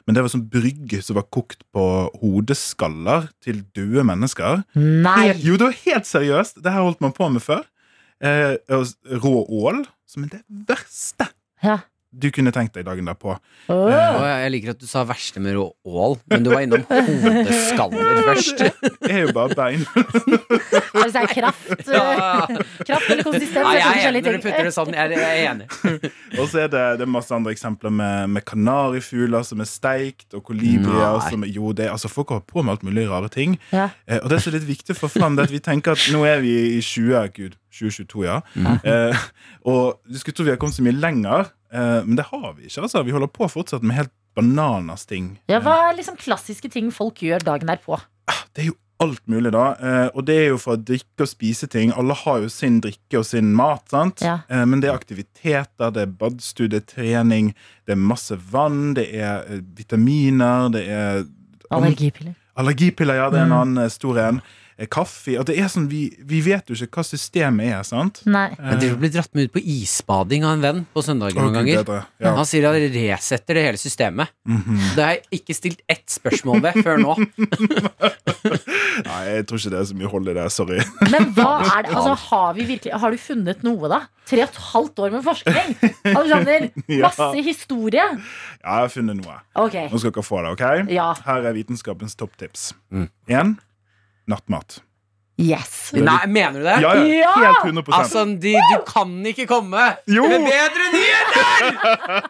S8: Men det var sånn brygge som var kokt på hodeskaller til døde mennesker. Helt,
S2: Nei!
S8: jo, det var helt seriøst! Det her holdt man på med før. Eh, og s- rå ål, som er det verste
S2: Ja.
S8: du kunne tenkt deg dagen derpå.
S2: Åh.
S3: Og jeg liker at du sa verste med rå ål, men du var innom
S2: *laughs*
S3: hodeskaller først.
S8: Det er jo bare bein. *laughs*
S2: Altså, det er kraft, eh,
S3: Ja.
S2: kraft eller konsistens.
S3: Nei,
S2: det er
S3: jeg er enig
S2: forskjellige
S3: når du
S2: ting.
S3: putter det sånn. Jeg er, jeg er enig.
S8: Og så er det, det er masse andre eksempler med, med kanarifugler som er steikt, og kolibrier
S3: Nei.
S8: som Jo, det, altså folk holder på med alt mulig rare ting.
S2: Ja.
S8: Eh, og det som er litt viktig å få fram, det er at vi tenker at nå er vi i 20, gud, 2022, ja. Eh, og du skulle tro vi har kommet så mye lenger, eh, men det har vi ikke. altså. Vi holder på fortsatt med helt bananas ting.
S2: Ja, hva er liksom klassiske ting folk gjør dagen derpå?
S8: Det er jo alt mulig, da. Eh, og det er jo fra drikke og spise ting. Alle har jo sin drikke og sin mat, sant?
S2: Ja.
S8: Eh, men det er aktiviteter, det er badstue, det er trening, det er masse vann, det er eh, vitaminer, det er
S2: Allergipiller.
S8: Allergipiller, ja, det er en
S2: Mm.
S8: annen eh, stor en. Eh, Kaffe og det er sånn, vi, vi vet jo ikke hva systemet er, sant?
S2: Nei.
S3: Jeg driver og blir dratt med ut på isbading av en venn på søndager
S8: Å,
S3: noen
S8: Gud,
S3: ganger.
S8: bedre. Ja. Mhm.
S3: Han sier han resetter det hele systemet. Det har jeg ikke stilt ett spørsmål ved før nå.
S8: Nei, jeg tror ikke det er så mye hold i det. Sorry.
S2: Men hva er det? Altså, har, vi virkelig, har du funnet noe, da? Tre og et halvt år med forskning! Alexander,
S8: *laughs* Ja.
S2: masse historie!
S8: Ja, jeg har funnet noe.
S2: Ok,
S8: Nå skal dere få det, OK?
S2: Ja.
S8: Her er vitenskapens topptips.
S3: Mm.
S8: Én nattmat.
S2: yes.
S3: Nei, mener du det?
S8: Ja, ja,
S2: Ja!
S8: helt 100
S3: Altså, de, du kan ikke komme
S8: Jo!
S3: med bedre nyheter!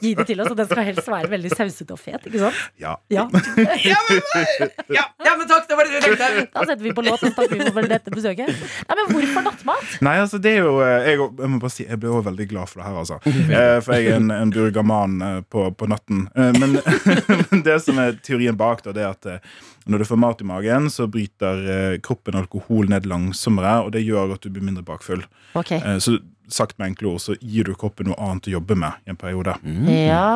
S2: Gi det til oss, og den skal helst være veldig sausete og fet. ikke sant?
S8: Ja.
S2: Ja,
S3: Ja, men, ja, ja, men takk, det var det jeg tenkte.
S2: Da setter vi på låt og så takker vi for dette besøket. Nei, Men hvorfor nattmat?
S8: Nei, altså det er jo eh, Jeg, jeg må bare si, jeg ble også veldig glad for det her, altså. Eh, For jeg er en, en burgerman eh, på, på natten. Eh, Men, *laughs* men det som er teorien bak, da, det er at eh, når du får mat i magen, så bryter eh, kroppen alkohol ned langsommere, og det gjør at du blir mindre bakfull.
S2: Ok,
S8: Eh, Så sagt med enkle ord, så gir du kroppen noe annet å jobbe med i en periode.
S2: Mm.
S8: Eh,
S2: Ja.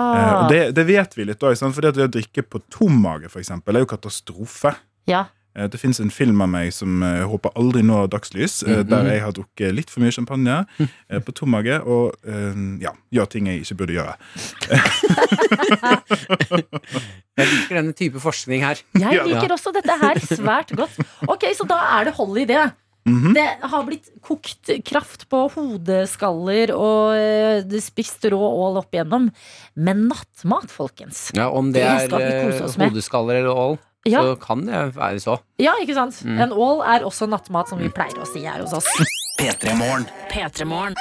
S8: og det, det vet vi litt òg, for det å drikke på tom mage for eksempel, er jo katastrofe.
S2: ja.
S8: Eh, Det fins en film av meg som eh, jeg håper aldri når dagslys, eh, der jeg har drukket litt for mye champagne eh, på tom mage og eh, ja, gjør ting jeg ikke burde gjøre.
S3: Jeg liker denne type forskning her.
S2: Jeg
S8: Ja.
S2: liker også dette her svært godt. Ok, Så da er det hold i det.
S8: Mhm.
S2: Det har blitt kokt kraft på hodeskaller og eh, det spist rå ål opp igjennom. Men nattmat, folkens.
S3: Ja, Om det,
S2: Det
S3: er
S2: skal vi
S3: eh,
S2: kose oss med.
S3: hodeskaller eller ål,
S2: Ja,
S3: så kan det være så.
S2: ja ikke sant?
S3: Mm.
S2: En ål er også nattmat, som vi pleier å si her hos oss.
S4: P3-morgen.
S5: P3-morgen.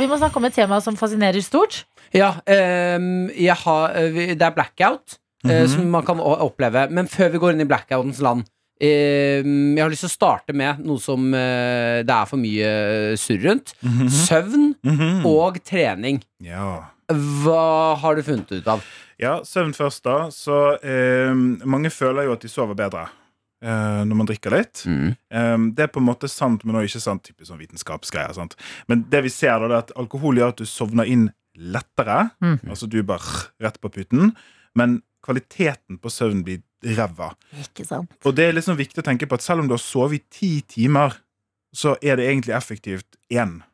S2: Vi må snakke om et tema som fascinerer stort.
S3: Ja, ehm, jeg har, eh, vi- det er blackout eh, som man kan o- oppleve. Men før vi går inn i blackoutens land ehm, Jeg har lyst til å starte med noe som eh, det er for mye eh, surr rundt. Søvn
S8: Mhm.
S3: og trening.
S8: Ja.
S3: Hva har du funnet ut av?
S8: Ja, søvn først da Så eh, mange føler jo at de sover bedre eh, Når man drikker litt eh, Det er på en måte sant, men også ikke sant Typisk sånn vitenskapsgreier sant? Men det vi ser da, det er at alkohol gjør at du sovner inn lettere
S2: Mm.
S8: Altså du er bare rett på puten Men kvaliteten på søvn blir revva
S2: Ikke sant?
S8: Og det er liksom viktig å tenke på at selv om du har sovet i ti timer Så er det egentlig effektivt en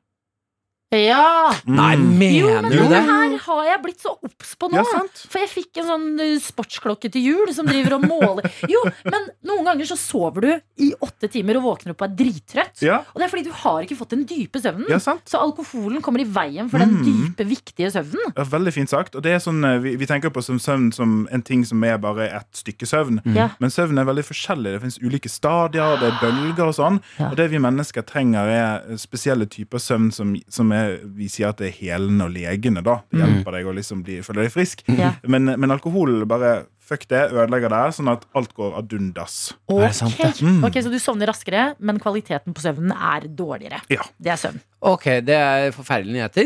S2: Ja!
S3: Nei,
S2: Jo,
S3: mener
S2: men
S3: du
S2: dette
S3: Mm. det?
S2: her har jeg blitt så obs på nå.
S8: Ja, sant
S2: For jeg fikk en sånn eh, sportsklokke til jul som driver og måler. Jo, men noen ganger så sover du i åtte timer og våkner opp og er drittrøtt.
S8: Ja,
S2: Og det er fordi du har ikke fått den dype søvnen.
S8: ja sant
S2: Så alkoholen kommer i veien for den
S8: Mm.
S2: dype, viktige søvnen.
S8: Ja, veldig fint sagt. Og det er sånn, eh, vi, vi tenker på som søvn som en ting som er bare et stykke søvn.
S2: Ja.
S8: Men søvn er veldig forskjellig. Det finnes ulike stadier, det er bølger og sånn.
S2: Ja.
S8: Og det vi mennesker trenger, er eh, spesielle typer søvn som, som er, vi sier at det er helende og legende. da. Det hjelper deg å liksom bli, føle deg frisk.
S2: Mm. Ja.
S8: Men, men alkohol bare fuck det, ødelegger det, sånn at alt går ad undas.
S2: Ok,
S6: sant,
S8: Mm.
S2: Ok, Så du sovner raskere, men kvaliteten på søvnen er dårligere.
S8: Ja.
S2: Det er søvn.
S3: Ok, det er forferdelige *laughs* nyheter.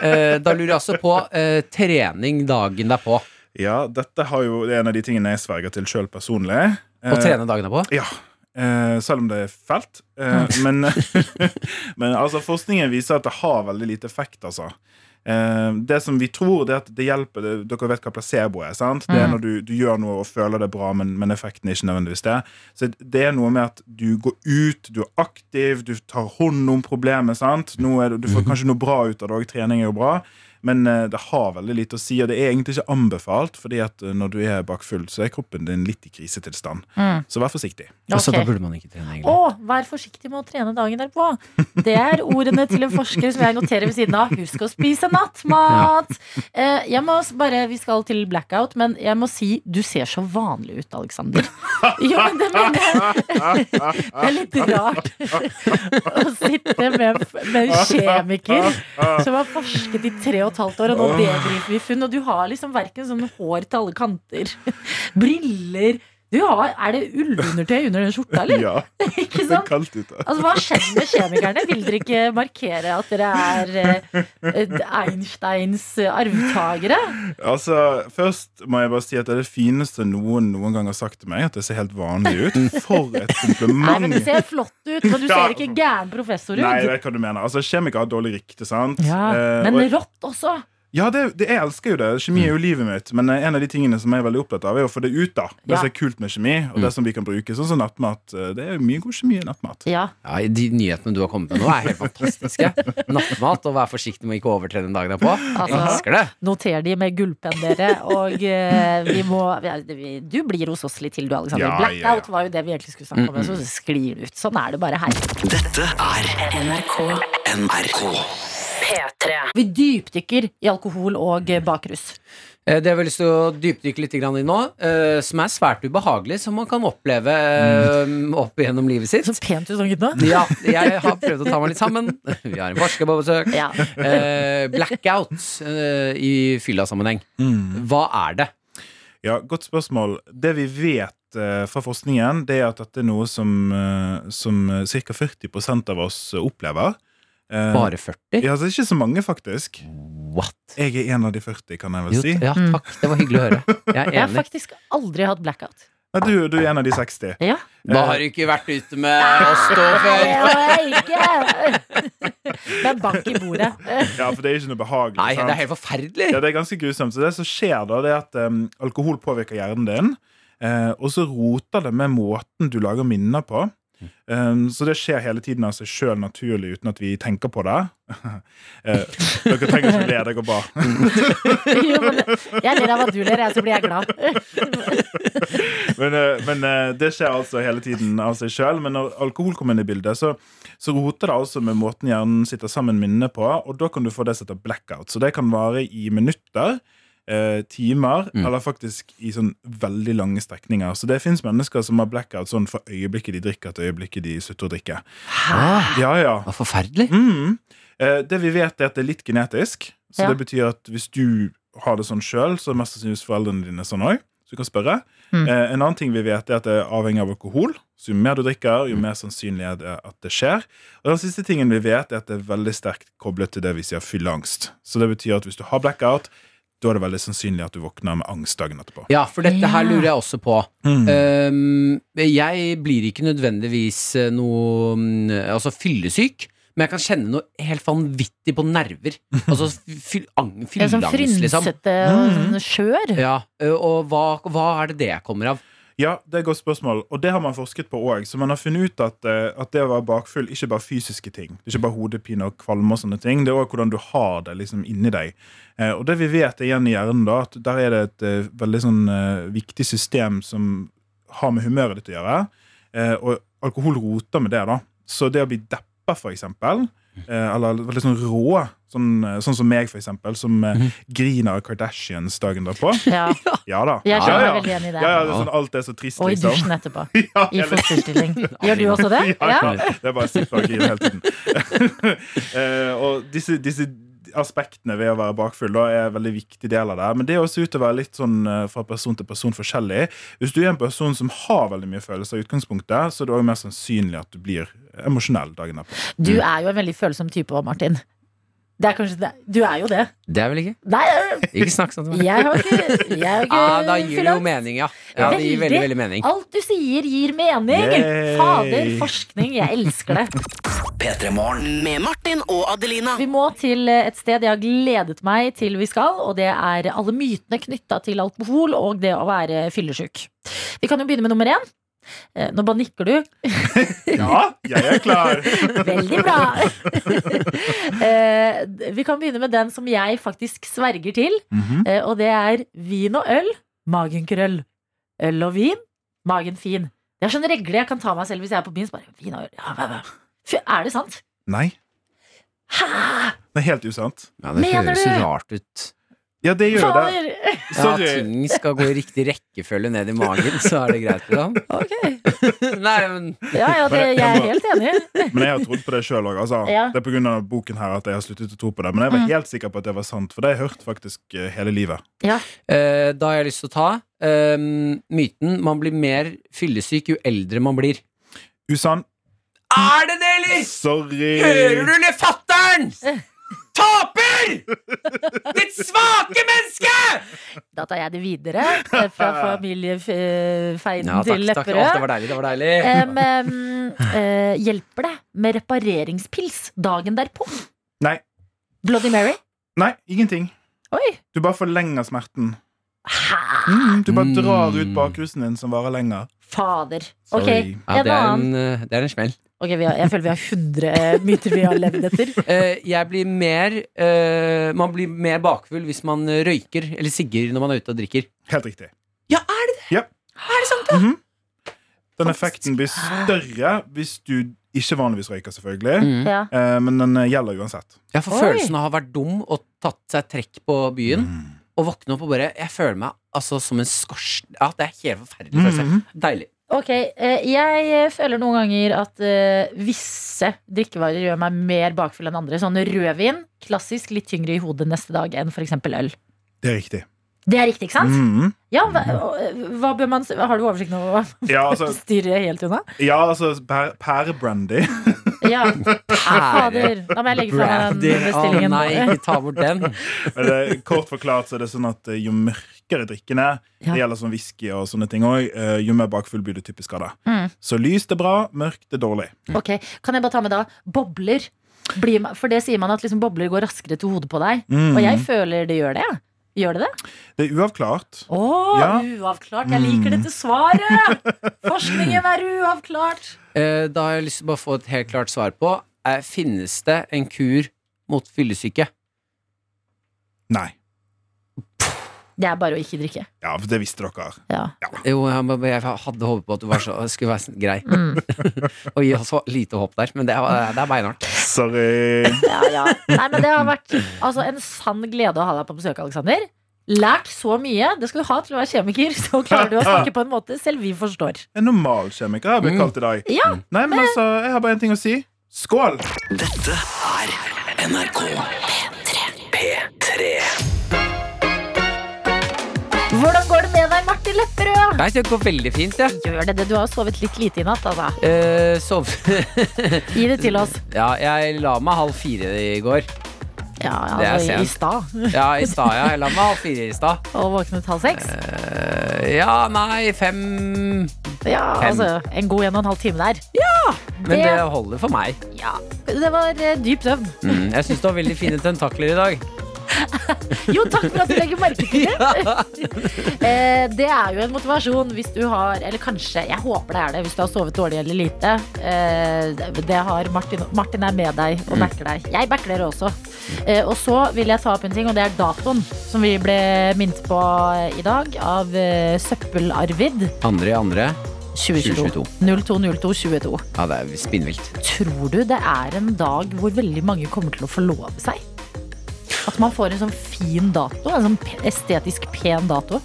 S3: Eh, da lurer jeg altså på eh, trening dagen derpå.
S8: Ja, dette har jo, det er en av de tingene jeg sverger til sjøl personlig.
S3: Å trene dagen derpå?
S8: Ja. Eh, selv om det er fælt. Eh, men *laughs* men altså, forskningen viser at det har veldig lite effekt, altså. Eh, det som vi tror, det er at det hjelper det, Dere vet hva placebo er. sant? Det er når du, du gjør noe og føler det bra, men, men effekten er ikke nødvendigvis det. Så det er noe med at du går ut, du er aktiv, du tar hånd om problemet. sant? Nå er, det- du får kanskje noe bra ut av det òg. Trening er jo bra. Men eh, det har veldig lite å si, og det er egentlig ikke anbefalt. fordi at eh, når du er bakfull, så er kroppen din litt i krisetilstand. Så vær forsiktig.
S3: Så da
S2: Ok.
S3: burde man ikke trene, egentlig.
S2: Å, vær forsiktig med å trene dagen derpå. Det er ordene til en forsker som jeg noterer ved siden av. Husk å spise nattmat. Eh, Jeg må s- bare, Vi skal til blackout, men jeg må si du ser så vanlig ut, Aleksander. Jo, men det mener jeg. Det er litt rart å sitte med, med en kjemiker som har forsket i tre og et halvt år, og nå debrifer vi funn, og du har liksom verken sånn hår til alle kanter, briller du har, Er det ullundertøy under den skjorta, eller?
S8: Ja,
S2: Ikke
S8: det er
S2: sant?
S8: kaldt ute.
S2: Altså, Hva har skjedd med kjemikerne? Vil dere ikke markere at dere er eh, Einsteins eh, arvtakere?
S8: Altså, Først må jeg bare si at det er det fineste noen noen gang har sagt til meg. At det ser helt vanlig ut. For et
S2: Nei,
S8: kompliment!
S2: men Du ser flott ut, men du
S8: Ja.
S2: ser ikke gæren professor
S8: Nei, jeg
S2: ut.
S8: vet hva du mener. Altså, Kjemikere har dårlig rykte, sant?
S2: Ja,
S8: Eh,
S2: men
S8: og-
S2: rått også.
S8: ja det, det, jeg elsker jo det. Kjemi er jo livet mitt. Men eh, en av de tingene som jeg er veldig opptatt av, er å få det ut. da Det
S2: Ja.
S8: som er kult med kjemi, og det som vi kan bruke. Sånn som nattmat. eh, Det er mye god kjemi i nattmat.
S2: Ja,
S3: Ja, De nyhetene du har kommet med nå, er helt fantastiske. Nattmat og vær forsiktig med å ikke overtrene dagen derpå. Jeg
S2: Altså.
S3: elsker det.
S2: Noter de med gullpenn, dere. Og eh, vi må ja, vi- Du blir hos oss litt til, du, Alexander.
S8: Ja, ja, ja.
S2: Blackout var jo det vi egentlig skulle snakke om, men så sklir det ut. Sånn er det bare her.
S4: Dette er NRK.
S2: Vi dypdykker i alkohol og eh, bakrus.
S3: Eh, Det har vi lyst til å dypdykke litt grann i nå, eh, som er svært ubehagelig, som man kan oppleve eh, opp gjennom livet
S2: Så
S3: sitt.
S2: pent ut sånn, gutta.
S3: Ja, jeg har prøvd å ta meg litt sammen. Vi har en forsker på besøk.
S2: Ja.
S3: Eh, Blackout eh, i fylla-sammenheng. Hva er det?
S8: Ja, Godt spørsmål. Det vi vet eh, fra forskningen, det er at dette er noe som, eh, som ca. 40 av oss eh, opplever. Eh,
S3: Bare 40?
S8: Ja, altså Ikke så mange, faktisk.
S3: What?
S8: Jeg er en av de 40, kan jeg vel
S3: Jo,
S8: si.
S3: ja, takk. Det var hyggelig å høre. Jeg er
S2: Jeg har
S3: enig.
S2: faktisk aldri hatt blackout.
S8: Nei, Du, du er en av de 60.
S2: Ja.
S3: Da har du ikke vært ute med oss to før.
S2: Men bank i bordet.
S8: Ja, for det er ikke noe behagelig.
S3: Nei,
S8: sant?
S3: det er helt forferdelig.
S8: Ja, det er ganske grusomt. Så det som skjer da, det er at em, alkohol påvirker hjernen din, eh, og så roter det med måten du lager minner på. Em, så det skjer hele tiden av seg sjøl naturlig, uten at vi tenker på det. *laughs* Eh, dere trenger ikke le, det går bra.
S2: Jo, men Jeg ler av at du ler, jeg, så blir jeg glad.
S8: men eh, men eh, det skjer altså hele tiden av seg sjøl. Men når alkohol kommer inn i bildet, så, så roter det altså med måten hjernen sitter sammen minnene på, og da kan du få det som heter blackout. Så det kan vare i minutter. eh, Timer, eller faktisk i sånn veldig lange strekninger. Så det fins mennesker som har blackout sånn fra øyeblikket de drikker, til øyeblikket de slutter å drikke. Ja, ja.
S3: Det var forferdelig.
S8: Mm. Eh, det vi vet, er at det er litt genetisk. Så
S2: Ja.
S8: det betyr at hvis du har det sånn sjøl, så er mest sannsynligvis foreldrene dine sånn òg. Så du kan spørre.
S2: Mm.
S8: Eh, en annen ting vi vet, er at det er avhengig av alkohol. Så jo mer du drikker,
S2: Mm.
S8: jo mer sannsynlig er det at det skjer. Og den siste tingen vi vet, er at det er veldig sterkt koblet til det vi sier fylleangst. Så det betyr at hvis du har blackout, da er det veldig sannsynlig at du våkner med angst dagen etterpå.
S3: Ja, for dette her
S2: Ja. Eh,
S3: lurer jeg også på.
S8: Mm.
S3: Ehm, jeg blir ikke nødvendigvis eh, noe mm, Altså fyllesyk, men jeg kan kjenne noe helt vanvittig på *laughs* nerver. Altså fyll, ang,
S2: Jeg er sånn
S3: fylleangst, liksom.
S2: frynsete og sånn skjør.
S3: Ja, ø, og hva, hva er det det jeg kommer av?
S8: Ja, det er et godt spørsmål, og det har man forsket på òg. Så man har funnet ut at, eh, at det å være bakfull ikke bare er fysiske ting. Det er ikke bare hodepine og kvalme og sånne ting. Det er òg hvordan du har det liksom inni deg. Eh, Og det vi vet er igjen i hjernen, da, at der er det et eh, veldig sånn eh, viktig system som har med humøret ditt å gjøre. Eh, Og alkohol roter med det, da. Så det å bli deppa, for eksempel, eh, eller veldig sånn rå, sånn, eh, sånn som meg, for eksempel, som eh, griner av Kardashians dagen derpå.
S2: Mhm. Ja,
S8: Ja da.
S2: jeg
S8: ja,
S2: skjønner
S8: ja.
S2: meg veldig igjen i
S8: Ja,
S2: det.
S8: ja, det er sånn, alt er så trist,
S2: Og i
S8: liksom.
S2: dusjen etterpå.
S8: *laughs* Ja,
S2: I
S8: eller-
S2: fosterstilling. Gjør du også det?
S8: Ja,
S2: Ja.
S8: ja. Det er bare å sitte og grine hele tiden. *laughs* Eh, og disse, disse aspektene ved å være bakfull da, er en veldig viktig del av det. Men det er også ut å være litt sånn eh, fra person til person forskjellig. Hvis du er en person som har veldig mye følelser i utgangspunktet, så er det også mer sannsynlig at du blir emosjonell dagen etterpå.
S2: Du er jo en veldig følsom type òg, Martin. Det er kanskje det. Du er jo det.
S3: Det er vel ikke?
S2: Nei,
S3: Ikke snakk sånn til meg.
S2: jeg har ikke, jeg har ikke
S3: Ja, Ah, da gir det jo
S2: fyllangst.
S3: mening, ja. ja det gir veldig, veldig mening.
S2: Alt du sier, gir mening.
S8: Yay.
S2: Fader, forskning. Jeg elsker det.
S5: Med Martin og Adelina.
S2: Vi må til eh, et sted jeg har gledet meg til vi skal, og det er alle mytene knytta til alkohol og det å være fyllesyk. Vi kan jo begynne med nummer én. Eh, Nå bare nikker du.
S8: *laughs* Ja, jeg er klar!
S2: Veldig bra!
S8: *laughs*
S2: Eh, vi kan begynne med den som jeg faktisk sverger til,
S8: Mhm.
S2: eh, og det er vin og øl, magen krøll. Øl og vin, magen fin. Det er sånn regle jeg kan ta meg selv hvis jeg er på byen. Så bare, vin og øl, ja, hva, hva. Fy, Er det sant?
S8: Nei.
S2: Hæ?
S8: Det er helt usant.
S3: Ja, det
S2: Mener
S3: høres så
S2: du?
S3: rart ut.
S8: Ja, det gjør det.
S2: Fader! *laughs*
S3: Ja,
S8: Sorry.
S3: ting skal gå i riktig rekkefølge ned i magen, så er det greit for ham. *laughs*
S2: Ok.
S3: Nei, men
S2: Ja, ja, det, jeg er helt enig.
S8: Men jeg har trodd på det sjøl òg. Altså.
S2: Ja.
S8: Det er pga. boken her at jeg har sluttet å tro på det. Men jeg var helt sikker på at det var sant, for det har jeg hørt faktisk eh, hele livet.
S3: Eh, Da har jeg lyst til å ta eh, myten man blir mer fyllesyk jo eldre man blir.
S8: Usann.
S3: Er det det, eller?
S8: Sorry.
S3: Hører du, eller fatter'n? Taper! Ditt svake menneske!
S2: Da tar jeg det videre eh, fra familiefeiden
S3: Ja, takk,
S2: til
S3: takk. Å, det
S2: Lepperød.
S3: var deilig. det var deilig
S2: Em, em, eh, hjelper det med repareringspils dagen derpå?
S8: Nei.
S2: Bloody Mary?
S8: Nei, ingenting.
S2: Oi!
S8: Du bare forlenger smerten.
S2: Hæ?
S8: Mm, du bare
S3: Mm.
S8: drar ut bakrusen din, som varer lenger.
S2: Fader. Ok,
S8: Sorry.
S3: Ja,
S2: en
S3: det, er
S2: annen.
S3: en, eh, det er en smell.
S2: Ok, vi har, jeg føler vi har 100 myter vi har levd etter.
S3: *laughs* Eh, jeg blir mer eh, Man blir mer bakfull hvis man eh, røyker eller sigger når man er ute og drikker.
S8: Helt riktig.
S3: Ja, er det det?
S8: Ja.
S3: Er det sant, da?
S8: Den effekten blir større hvis du ikke vanligvis røyker, selvfølgelig.
S2: *laughs*
S3: Mm.
S2: Ja.
S8: Eh, Men den eh, gjelder uansett.
S3: Ja, for
S2: Oi.
S3: følelsen av å ha vært dum og tatt seg trekk på byen, og våkne opp og bare Jeg føler meg altså som en skorsten Ja, det er helt forferdelig følelse.
S8: Mhm.
S3: Deilig.
S2: Ok, eh, jeg føler noen ganger at eh, visse drikkevarer gjør meg mer bakfull enn andre. Sånn rødvin, klassisk litt tyngre i hodet neste dag enn f.eks. øl.
S8: Det er riktig.
S2: Det er riktig, ikke sant?
S8: Mhm.
S2: Ja, hva, hva bør man Har du oversikt over hva
S8: Ja, altså,
S2: styret helt unna?
S8: ja, altså pæ- pærebrandy.
S2: Ja, *laughs* fader. Da må jeg legge fra meg
S3: Brandy.
S2: den
S3: Å nei,
S2: bestillingen.
S3: ikke ta bort den.
S8: Men det- Kort forklart så er det sånn at eh, jo mørkere mørkere drikkene.
S2: Ja.
S8: Det gjelder sånn whisky og sånne ting òg. Jo mer bakfull blir du typisk av det.
S2: Mm.
S8: Så lyst er bra, mørkt er dårlig.
S2: Ok, Kan jeg bare ta med da bobler? Blir man, for det sier man at liksom bobler går raskere til hodet på deg.
S8: Mm.
S2: Og jeg føler det gjør det. jeg. Gjør det det?
S8: Det er uavklart.
S2: Å,
S8: Ja. Mm.
S2: uavklart! Jeg liker dette svaret!
S8: *laughs*
S2: Forskningen er uavklart!
S3: Eh, Da har jeg lyst til å bare få et helt klart svar på eh, Finnes det en kur mot fyllesyke?
S8: Nei.
S2: Det er bare å ikke drikke.
S8: Ja, for det visste dere.
S2: Ja.
S3: Jo, jeg, må- jeg hadde håpet på at du var så, *laughs* skulle være så grei
S2: Mm.
S3: Og gi oss så lite håp der Men det, er- det er beinhardt
S8: Sorry.
S2: ja, ja. Nei, men det har vært altså, en sann glede å ha deg på besøk, Aleksander. Lært så mye. Det skal du ha til å være kjemiker. *laughs* Så klarer du å snakke på en måte selv vi forstår.
S8: En normal kjemiker har blitt kalt i dag.
S2: Mm. Ja, Eh.
S8: Nei, men altså, jeg har bare en ting å si. Skål!
S4: Dette er NRK P3.
S2: Hvordan går det med deg, Martin Lepperød?
S3: Nei, det går veldig fint, ja
S2: Gjør det det? Du har jo sovet litt lite i natt, altså.
S3: eh, Sov
S2: Gi det til oss.
S3: *laughs* Ja, jeg la meg halv fire i går
S2: Ja,
S3: Det er
S2: altså, i
S3: sent.
S2: stad.
S3: Ja, i stad, ja Jeg la meg halv fire i stad
S2: Og våknet halv seks.
S3: Eh, Ja, nei, fem
S2: Ja,
S3: fem.
S2: altså, en god en og en halv time der.
S3: Men
S2: Det-
S3: det holder for meg
S2: Ja, Det var eh, dyp søvn.
S3: mm, Jeg synes du har veldig fine tentakler i dag
S2: Jo, takk for at du legger merke til det. Eh, Det er jo en motivasjon hvis du har Eller kanskje, jeg håper det er det, hvis du har sovet dårlig eller lite. Eh, det- Det har Martin. Martin er med deg og backer deg. Jeg backer dere også. Eh, Og så vil jeg ta opp en ting, og det er datoen som vi ble minnet på eh, i dag av eh, Søppel-Arvid.
S3: Andre i andre
S2: 2022.
S3: 2022.
S2: 02.02.22.
S3: Ja, det er spinnvilt
S2: Tror du det er en dag hvor veldig mange kommer til å forlove seg? At man får en sånn fin dato? En sånn pe- estetisk pen dato?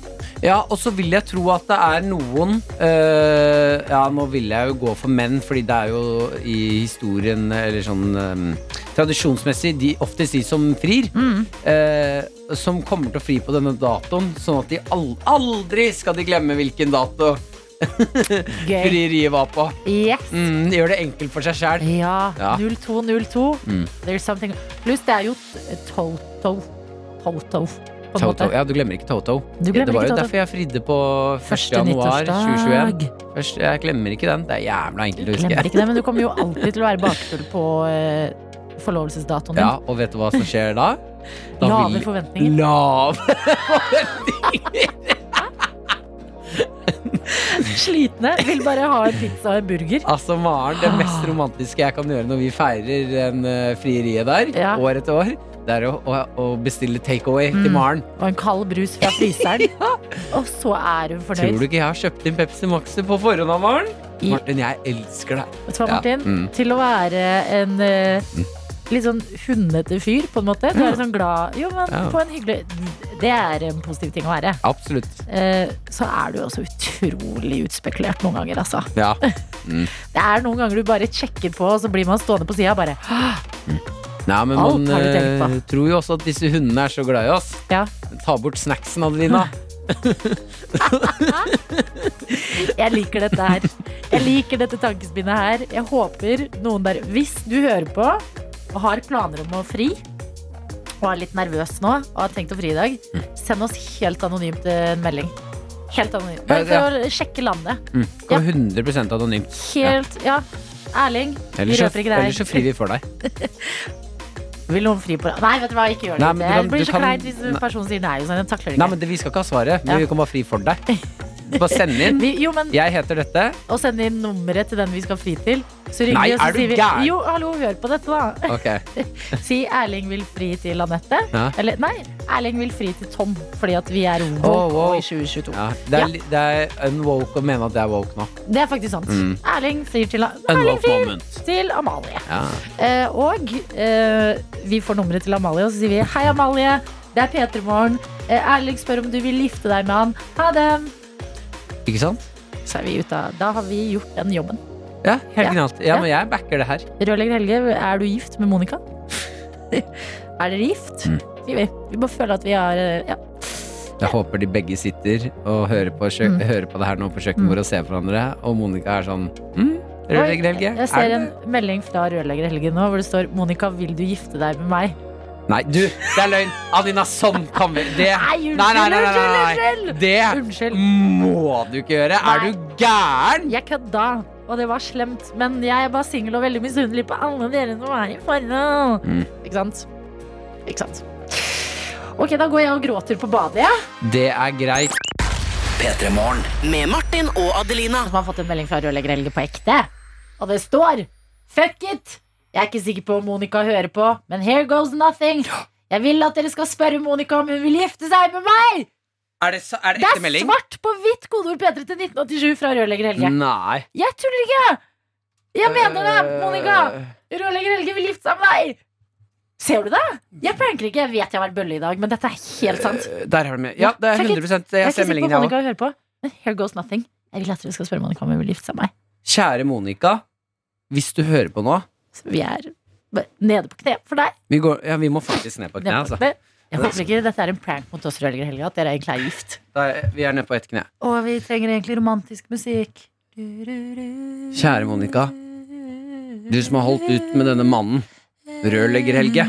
S3: Ja, og så vil jeg tro at det er noen øh, Ja, nå vil jeg jo gå for menn, fordi det er jo i historien Eller sånn øhm, tradisjonsmessig de, oftest de som frir. øh, som kommer til å fri på denne datoen, sånn at de al aldri skal de glemme hvilken dato
S2: Gøy.
S3: frieriet var på.
S2: Yes.
S3: Mm, gjør det enkelt for seg sjæl.
S2: Ja.
S3: Ja.
S2: 0202.
S3: Mm.
S2: There's something Pluss det er jo t- Toto. Toto. På en
S3: Toto.
S2: måte.
S3: Ja, du glemmer ikke Toto.
S2: Du glemmer
S3: det var
S2: ikke
S3: jo
S2: Toto.
S3: derfor jeg fridde på 1.
S2: Første
S3: januar
S2: nyttårsdag.
S3: 2021. Først, jeg glemmer ikke den. Det er jævla enkelt å huske.
S2: Glemmer ikke det, men du kommer jo alltid til å være bakfull på eh, forlovelsesdatoen din.
S3: Ja, og vet du hva som skjer da? da
S2: Lave
S3: vil- Mm.
S2: forventninger.
S3: Lave
S2: Slitne. Vil bare ha en pizza og en burger.
S3: Altså Maren, det mest romantiske jeg kan gjøre når vi feirer en eh, frieriet der,
S2: Ja. Mm.
S3: år etter år, det er å, å, å bestille takeaway til Maren.
S2: Og en kald brus fra
S3: *laughs*
S2: fryseren. Og så er hun fornøyd.
S3: Tror du ikke jeg har kjøpt inn Pepsi Max på forhånd av Maren?
S2: I-
S3: Martin, jeg elsker deg.
S2: Vet du hva,
S3: Ja,
S2: Martin?
S3: mm.
S2: Til å være en eh, litt sånn hundete fyr, på en måte. Du er sånn glad Jo, men
S3: Ja.
S2: på en hyggelig Det er en positiv ting å være.
S3: Absolutt.
S2: Eh, så er du også utrolig utspekulert noen ganger, altså.
S3: Ja.
S2: Det er noen ganger du bare sjekker på, og så blir man stående på sida og bare «Hå!»
S3: Nei, men
S2: Alt
S3: man
S2: har du tenkt på.
S3: eh, tror jo også at disse hundene er så glad i oss.
S2: Ja.
S3: Ta bort snacksen, Adelina.
S2: *laughs* Jeg liker dette her. Jeg liker dette tankespinnet her. Jeg håper noen der Hvis du hører på og har planer om å fri, og er litt nervøs nå og har tenkt å fri i dag,
S3: Mm.
S2: send oss helt anonymt en melding. Helt anonymt. Bare
S3: Ja,
S2: for å sjekke landet.
S3: Mm. Gå 100 anonymt.
S2: Helt, ja. Erling, vi
S3: Ellers så,
S2: røper ikke deg.
S3: ellers så frir vi for deg.
S2: Vil noen fri på deg? Nei, vet du hva, ikke gjør det.
S3: Nei, men du kan-
S2: det blir
S3: du
S2: så
S3: kan-
S2: kleint hvis
S3: Nei.
S2: personen sier nei. og Sånn, jeg takler det
S3: Nei,
S2: ikke.
S3: men det, Vi skal ikke ha svaret, men
S2: Ja.
S3: vi kan bare fri
S2: *laughs*
S3: for deg. Bare send inn.
S2: vi, jo, men
S3: Jeg heter dette.
S2: Og sende inn nummeret til den vi skal fri til. Så ringer
S3: Nei,
S2: vi og så
S3: er du
S2: sier vi
S3: gæren?
S2: Jo, hallo, hør på dette, da.
S3: Ok. *laughs*
S2: Si Erling vil fri til Anette.
S3: Ja.
S2: Eller nei, Erling vil fri til Tom, fordi at vi er woke
S3: Oh, wow.
S2: i 2022.
S3: Ja, det,
S2: Ja.
S3: er, li- det er unwoke å mene at jeg er woke nå.
S2: Det er faktisk sant.
S3: Mm.
S2: Erling frir til, Erling
S3: Unwoke
S2: frir
S3: moment.
S2: til Amalie.
S3: Ja.
S2: Eh, og eh, vi får nummeret til Amalie, og så sier vi hei, Amalie. Det er P3 Morgen. Eh, Erling spør om du vil gifte deg med han. Ha det!
S3: Ikke sant?
S2: Så er vi ute av Da har vi gjort den jobben.
S3: Ja, helt
S2: Ja.
S3: genialt. Ja, men jeg backer det her.
S2: Rørlegger Helge, er du gift med Monica? *laughs* er dere gift?
S3: Mm.
S2: Sier vi. Vi bare føler at vi har eh, ja.
S3: Jeg håper de begge sitter og hører på, kjø
S2: Mm.
S3: hører på det her nå på kjøkkenbordet og ser på hverandre, og Monica er sånn mm, Rørlegger Helge.
S2: Jeg ser
S3: er
S2: en
S3: det-
S2: melding fra rørlegger Helge nå hvor det står Monica, vil du gifte deg med meg?
S3: Nei, du, det er løgn. Adelina, sånn kan vi det,
S2: Nei, unnskyld, unnskyld, unnskyld.
S3: Det
S2: Unnskyld.
S3: må du ikke gjøre.
S2: Nei.
S3: Er du gæren?
S2: Jeg kødda, og det var slemt. Men jeg var singel og veldig misunnelig på alle dere som er i forhold.
S3: Mm.
S2: Ikke sant? Ikke sant. Ok, da går jeg og gråter på badet, jeg.
S3: Det er greit.
S4: P3-morgen.
S5: Med Martin og Adelina.
S2: Som har fått en melding fra rørlegger Helge på ekte. Og det står Fuck it! Jeg er ikke sikker på om Monica hører på, men here goes nothing. Jeg vil at dere skal spørre Monica om hun vil gifte seg med meg!
S3: Er det, så- er det
S2: Det
S3: ekte
S2: er
S3: melding? Mm.
S2: svart på hvitt kodeord P3 til 1987 fra rørlegger Helge.
S3: Nei.
S2: Jeg tuller ikke! Jeg mener
S3: Eh.
S2: det, Monica!
S3: Øh,
S2: Rørlegger Helge vil gifte seg med deg! Ser du det? Jeg pranker ikke. Jeg vet jeg har vært bølle i dag, men dette er helt sant.
S3: Øh, Der har du med. Ja, det er
S2: Fuck it. Jeg er
S3: 100 Jeg
S2: ikke
S3: ser
S2: sikker på om
S3: meldingen, jeg òg.
S2: Monica hører på. Men here goes nothing. Jeg vil at dere skal spørre Monica om hun vil gifte seg med meg.
S3: Kjære Monica. Hvis du hører på nå
S2: Så vi er bare nede på kne for deg.
S3: Vi, går, ja, vi må faktisk ned på et kne.
S2: Nede
S3: Altså.
S2: på kne. Jeg håper ikke dette er en prank mot oss rørleggere Helge, at dere egentlig er gift.
S3: Da er- Vi er ned på ett kne.
S2: Og vi trenger egentlig romantisk musikk.
S3: Kjære Monica. Du som har holdt ut med denne mannen, Rørlegger-Helge.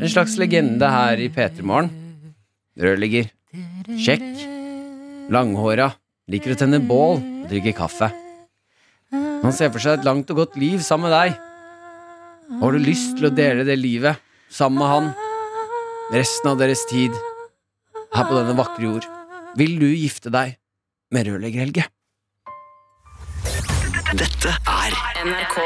S3: En slags legende her i P3morgen. Rørlegger. Kjekk. Langhåra. Liker å tenne bål og drikke kaffe. Han ser for seg et langt og godt liv sammen med deg. Har du lyst til å dele det livet sammen med han resten av deres tid her på denne vakre jord? Vil du gifte deg med Rørlegger-Helge?
S4: Dette er
S5: NRK.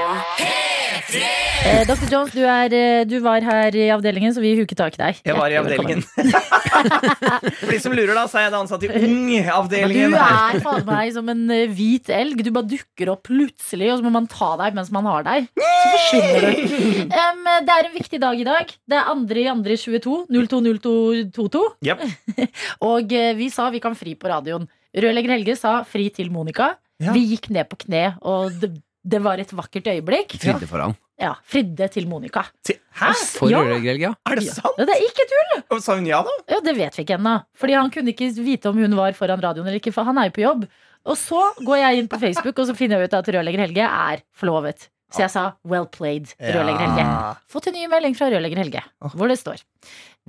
S2: Eh, Dr. Jones, du, er, eh, du var her i avdelingen, så vi huket tak i deg.
S9: Jeg var i
S2: Hjertelig
S9: avdelingen. *laughs* For de som lurer, da, så er jeg da ansatt i Ung-avdelingen.
S2: Du
S9: her. *laughs*
S2: er faen meg som en eh, hvit elg. Du bare dukker opp plutselig, og så må man ta deg mens man har deg. Så forsvinner du. Em, det er en viktig dag i dag. Det er 2. i 2. 22. 02.02.22.
S9: Jep.
S2: *laughs* og eh, vi sa vi kan fri på radioen. Rørlegger Helge sa fri til Monica.
S9: Ja.
S2: Vi gikk ned på kne, og det, det var et vakkert øyeblikk.
S3: Fridde for han.
S2: Ja, Fridde til Monica.
S9: Til- Hæ?
S3: For
S2: Ja.
S3: Rørlegger-Helge, ja.
S9: Er det
S2: Ja.
S9: sant?
S2: Ja, det er ikke tull!
S9: Og Sa hun ja, da?
S2: Ja, det vet vi ikke ennå. Fordi han kunne ikke vite om hun var foran radioen eller ikke, for han er jo på jobb. Og så går jeg inn på Facebook og så finner jeg ut at rørlegger Helge er forlovet. Så jeg sa well played, rørlegger Helge. Fått en ny melding fra rørlegger Helge, hvor det står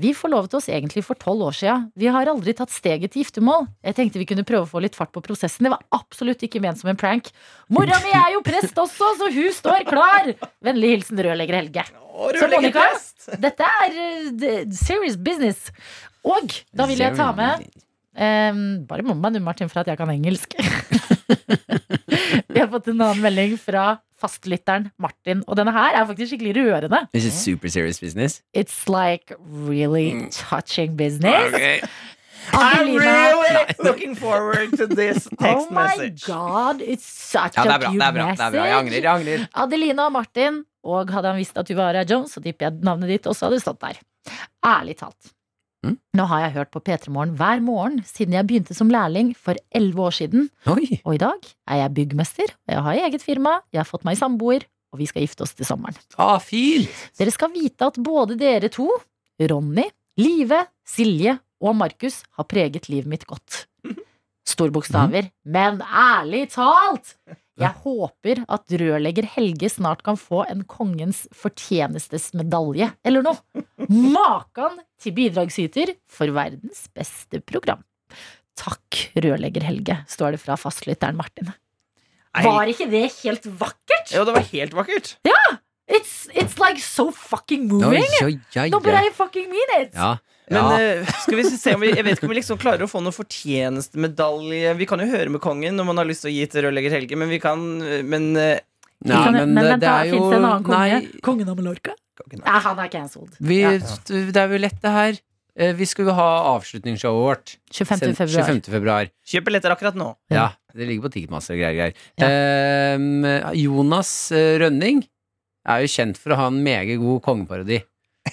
S2: Vi forlovet oss egentlig for tolv år sia. Vi har aldri tatt steget til giftermål. Jeg tenkte vi kunne prøve å få litt fart på prosessen. Det var absolutt ikke ment som en prank. Mora mi er jo prest også, så hun står klar! Vennlig hilsen rørlegger Helge.
S9: Å,
S2: Så Monica,
S9: rørleggerprest!
S2: dette er eh, det- serious business. Og da vil jeg ta med ehm, Bare mobb meg nå, Martin, for at jeg kan engelsk. *laughs* Vi har fått en annen melding fra fastlytteren Martin, og denne her er faktisk skikkelig rørende.
S3: This is super serious business.
S2: It's like
S3: Mm.
S2: really touching business.
S9: I'm
S2: Adelina-
S9: really looking forward to this
S2: Oh
S9: text
S2: my
S9: message.
S2: god, it's such
S3: Ja, det
S2: a
S3: er bra.
S2: cute
S3: det er bra, det er bra. Jeg
S2: message.
S3: angrer. jeg angrer
S2: Adelina og Martin, og hadde han visst at du var Rai Jones, så tipper jeg navnet ditt også hadde stått der. Ærlig talt.
S3: Mm.
S2: Nå har jeg hørt på P3 Morgen hver morgen siden jeg begynte som lærling for elleve år siden,
S3: Oi.
S2: og i dag er jeg byggmester, og jeg har eget firma, jeg har fått meg samboer, og vi skal gifte oss til sommeren.
S3: Ah, fint!
S2: Dere skal vite at både dere to, Ronny, Live, Silje og Markus, har preget livet mitt godt.
S9: Mhm.
S2: Storbokstaver, men ærlig talt! Jeg håper at rørlegger Helge snart kan få en kongens fortjenestesmedalje eller noe. Makan til bidragsyter for verdens beste program. Takk, rørlegger Helge, står det fra fastlytteren Martin.
S9: Nei.
S2: Var ikke det helt vakkert?
S9: Jo, det var helt vakkert.
S2: It's, it's like so fucking
S3: Oi,
S2: moving!
S3: oi, oi.
S2: No, but I fucking mean it!
S3: Ja.
S9: Men
S3: ja.
S9: eh, skal vi se om vi, jeg vet ikke om vi liksom klarer å få noen fortjenestemedalje. Vi kan jo høre med kongen når man har lyst til å gi til rørlegger Helge, men vi kan Men eh,
S3: Nei,
S2: Kan- men
S3: det-
S2: vent
S3: det
S2: da,
S3: er
S2: finnes det en annen konge?
S3: Nei,
S2: Kongen av Mallorca? Nei, han er cancelled.
S3: vi,
S2: Ja.
S3: det er jo lett, det her. Eh, Vi skulle jo ha avslutningsshowet vårt.
S2: 25.
S3: Sen-
S2: februar.
S3: 25. februar.
S9: kjøp billetter akkurat nå.
S3: Ja, det ligger på Ticketmaster og greier. greier.
S2: Ja.
S3: Eh, Jonas eh, Rønning er jo kjent for å ha en meget god kongeparodi.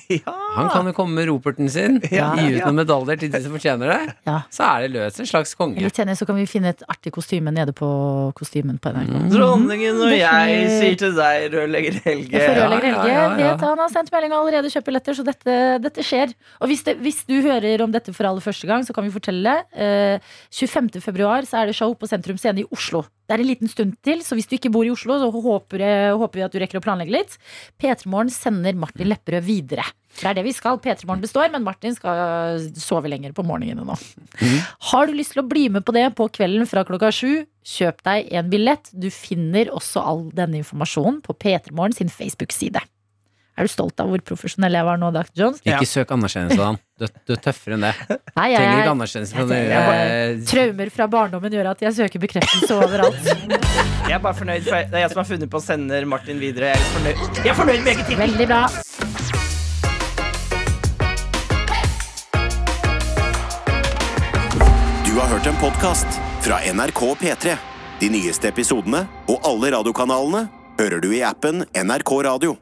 S9: Ja.
S3: Han kan jo komme med roperten sin,
S9: Ja,
S3: gi ut
S9: ja.
S3: noen medaljer til de som fortjener det.
S2: Ja.
S3: Så er det løs en slags konge.
S2: Litt senere så kan vi finne et artig kostyme nede på kostymen på NRK.
S3: Mm.
S9: Dronningen og
S2: Mm, Det
S9: jeg
S2: skjer.
S9: sier til deg, rørlegger Helge.
S2: For
S3: Ja,
S2: rørlegger Helge
S3: ja, ja, ja.
S2: vet han har sendt melding og allerede kjøpt billetter, så dette, dette skjer. Og hvis, det, hvis du hører om dette for aller første gang, så kan vi fortelle. Eh, 25. februar så er det show på Sentrum Scene i Oslo. Det er en liten stund til, så hvis du ikke bor i Oslo, så håper, jeg, håper vi at du rekker å planlegge litt. P3morgen sender Martin Lepperød videre. For det er det vi skal. P3morgen består, men Martin skal sove lenger på morgenene nå. Har du lyst til å bli med på det på kvelden fra klokka sju, kjøp deg en billett. Du finner også all denne informasjonen på P3morgen sin Facebook-side. Er du stolt av hvor profesjonell jeg var nå, Dr. Jones?
S3: Ikke søk anerkjennelse, Dan. Du, du er tøffere enn det.
S2: Nei, jeg
S3: Trenger
S2: er-
S3: ikke eh, anerkjennelse fra
S2: Jeg
S3: dere.
S2: Traumer fra barndommen gjør at jeg søker bekreftelse overalt.
S3: *laughs*
S9: Jeg er bare fornøyd, for det er jeg som har funnet på å sende Martin videre. Jeg er fornøyd, jeg er fornøyd med eget ting.
S2: Veldig bra.
S1: Du har hørt en podkast fra NRK P3. De nyeste episodene og alle radiokanalene hører du i appen NRK Radio.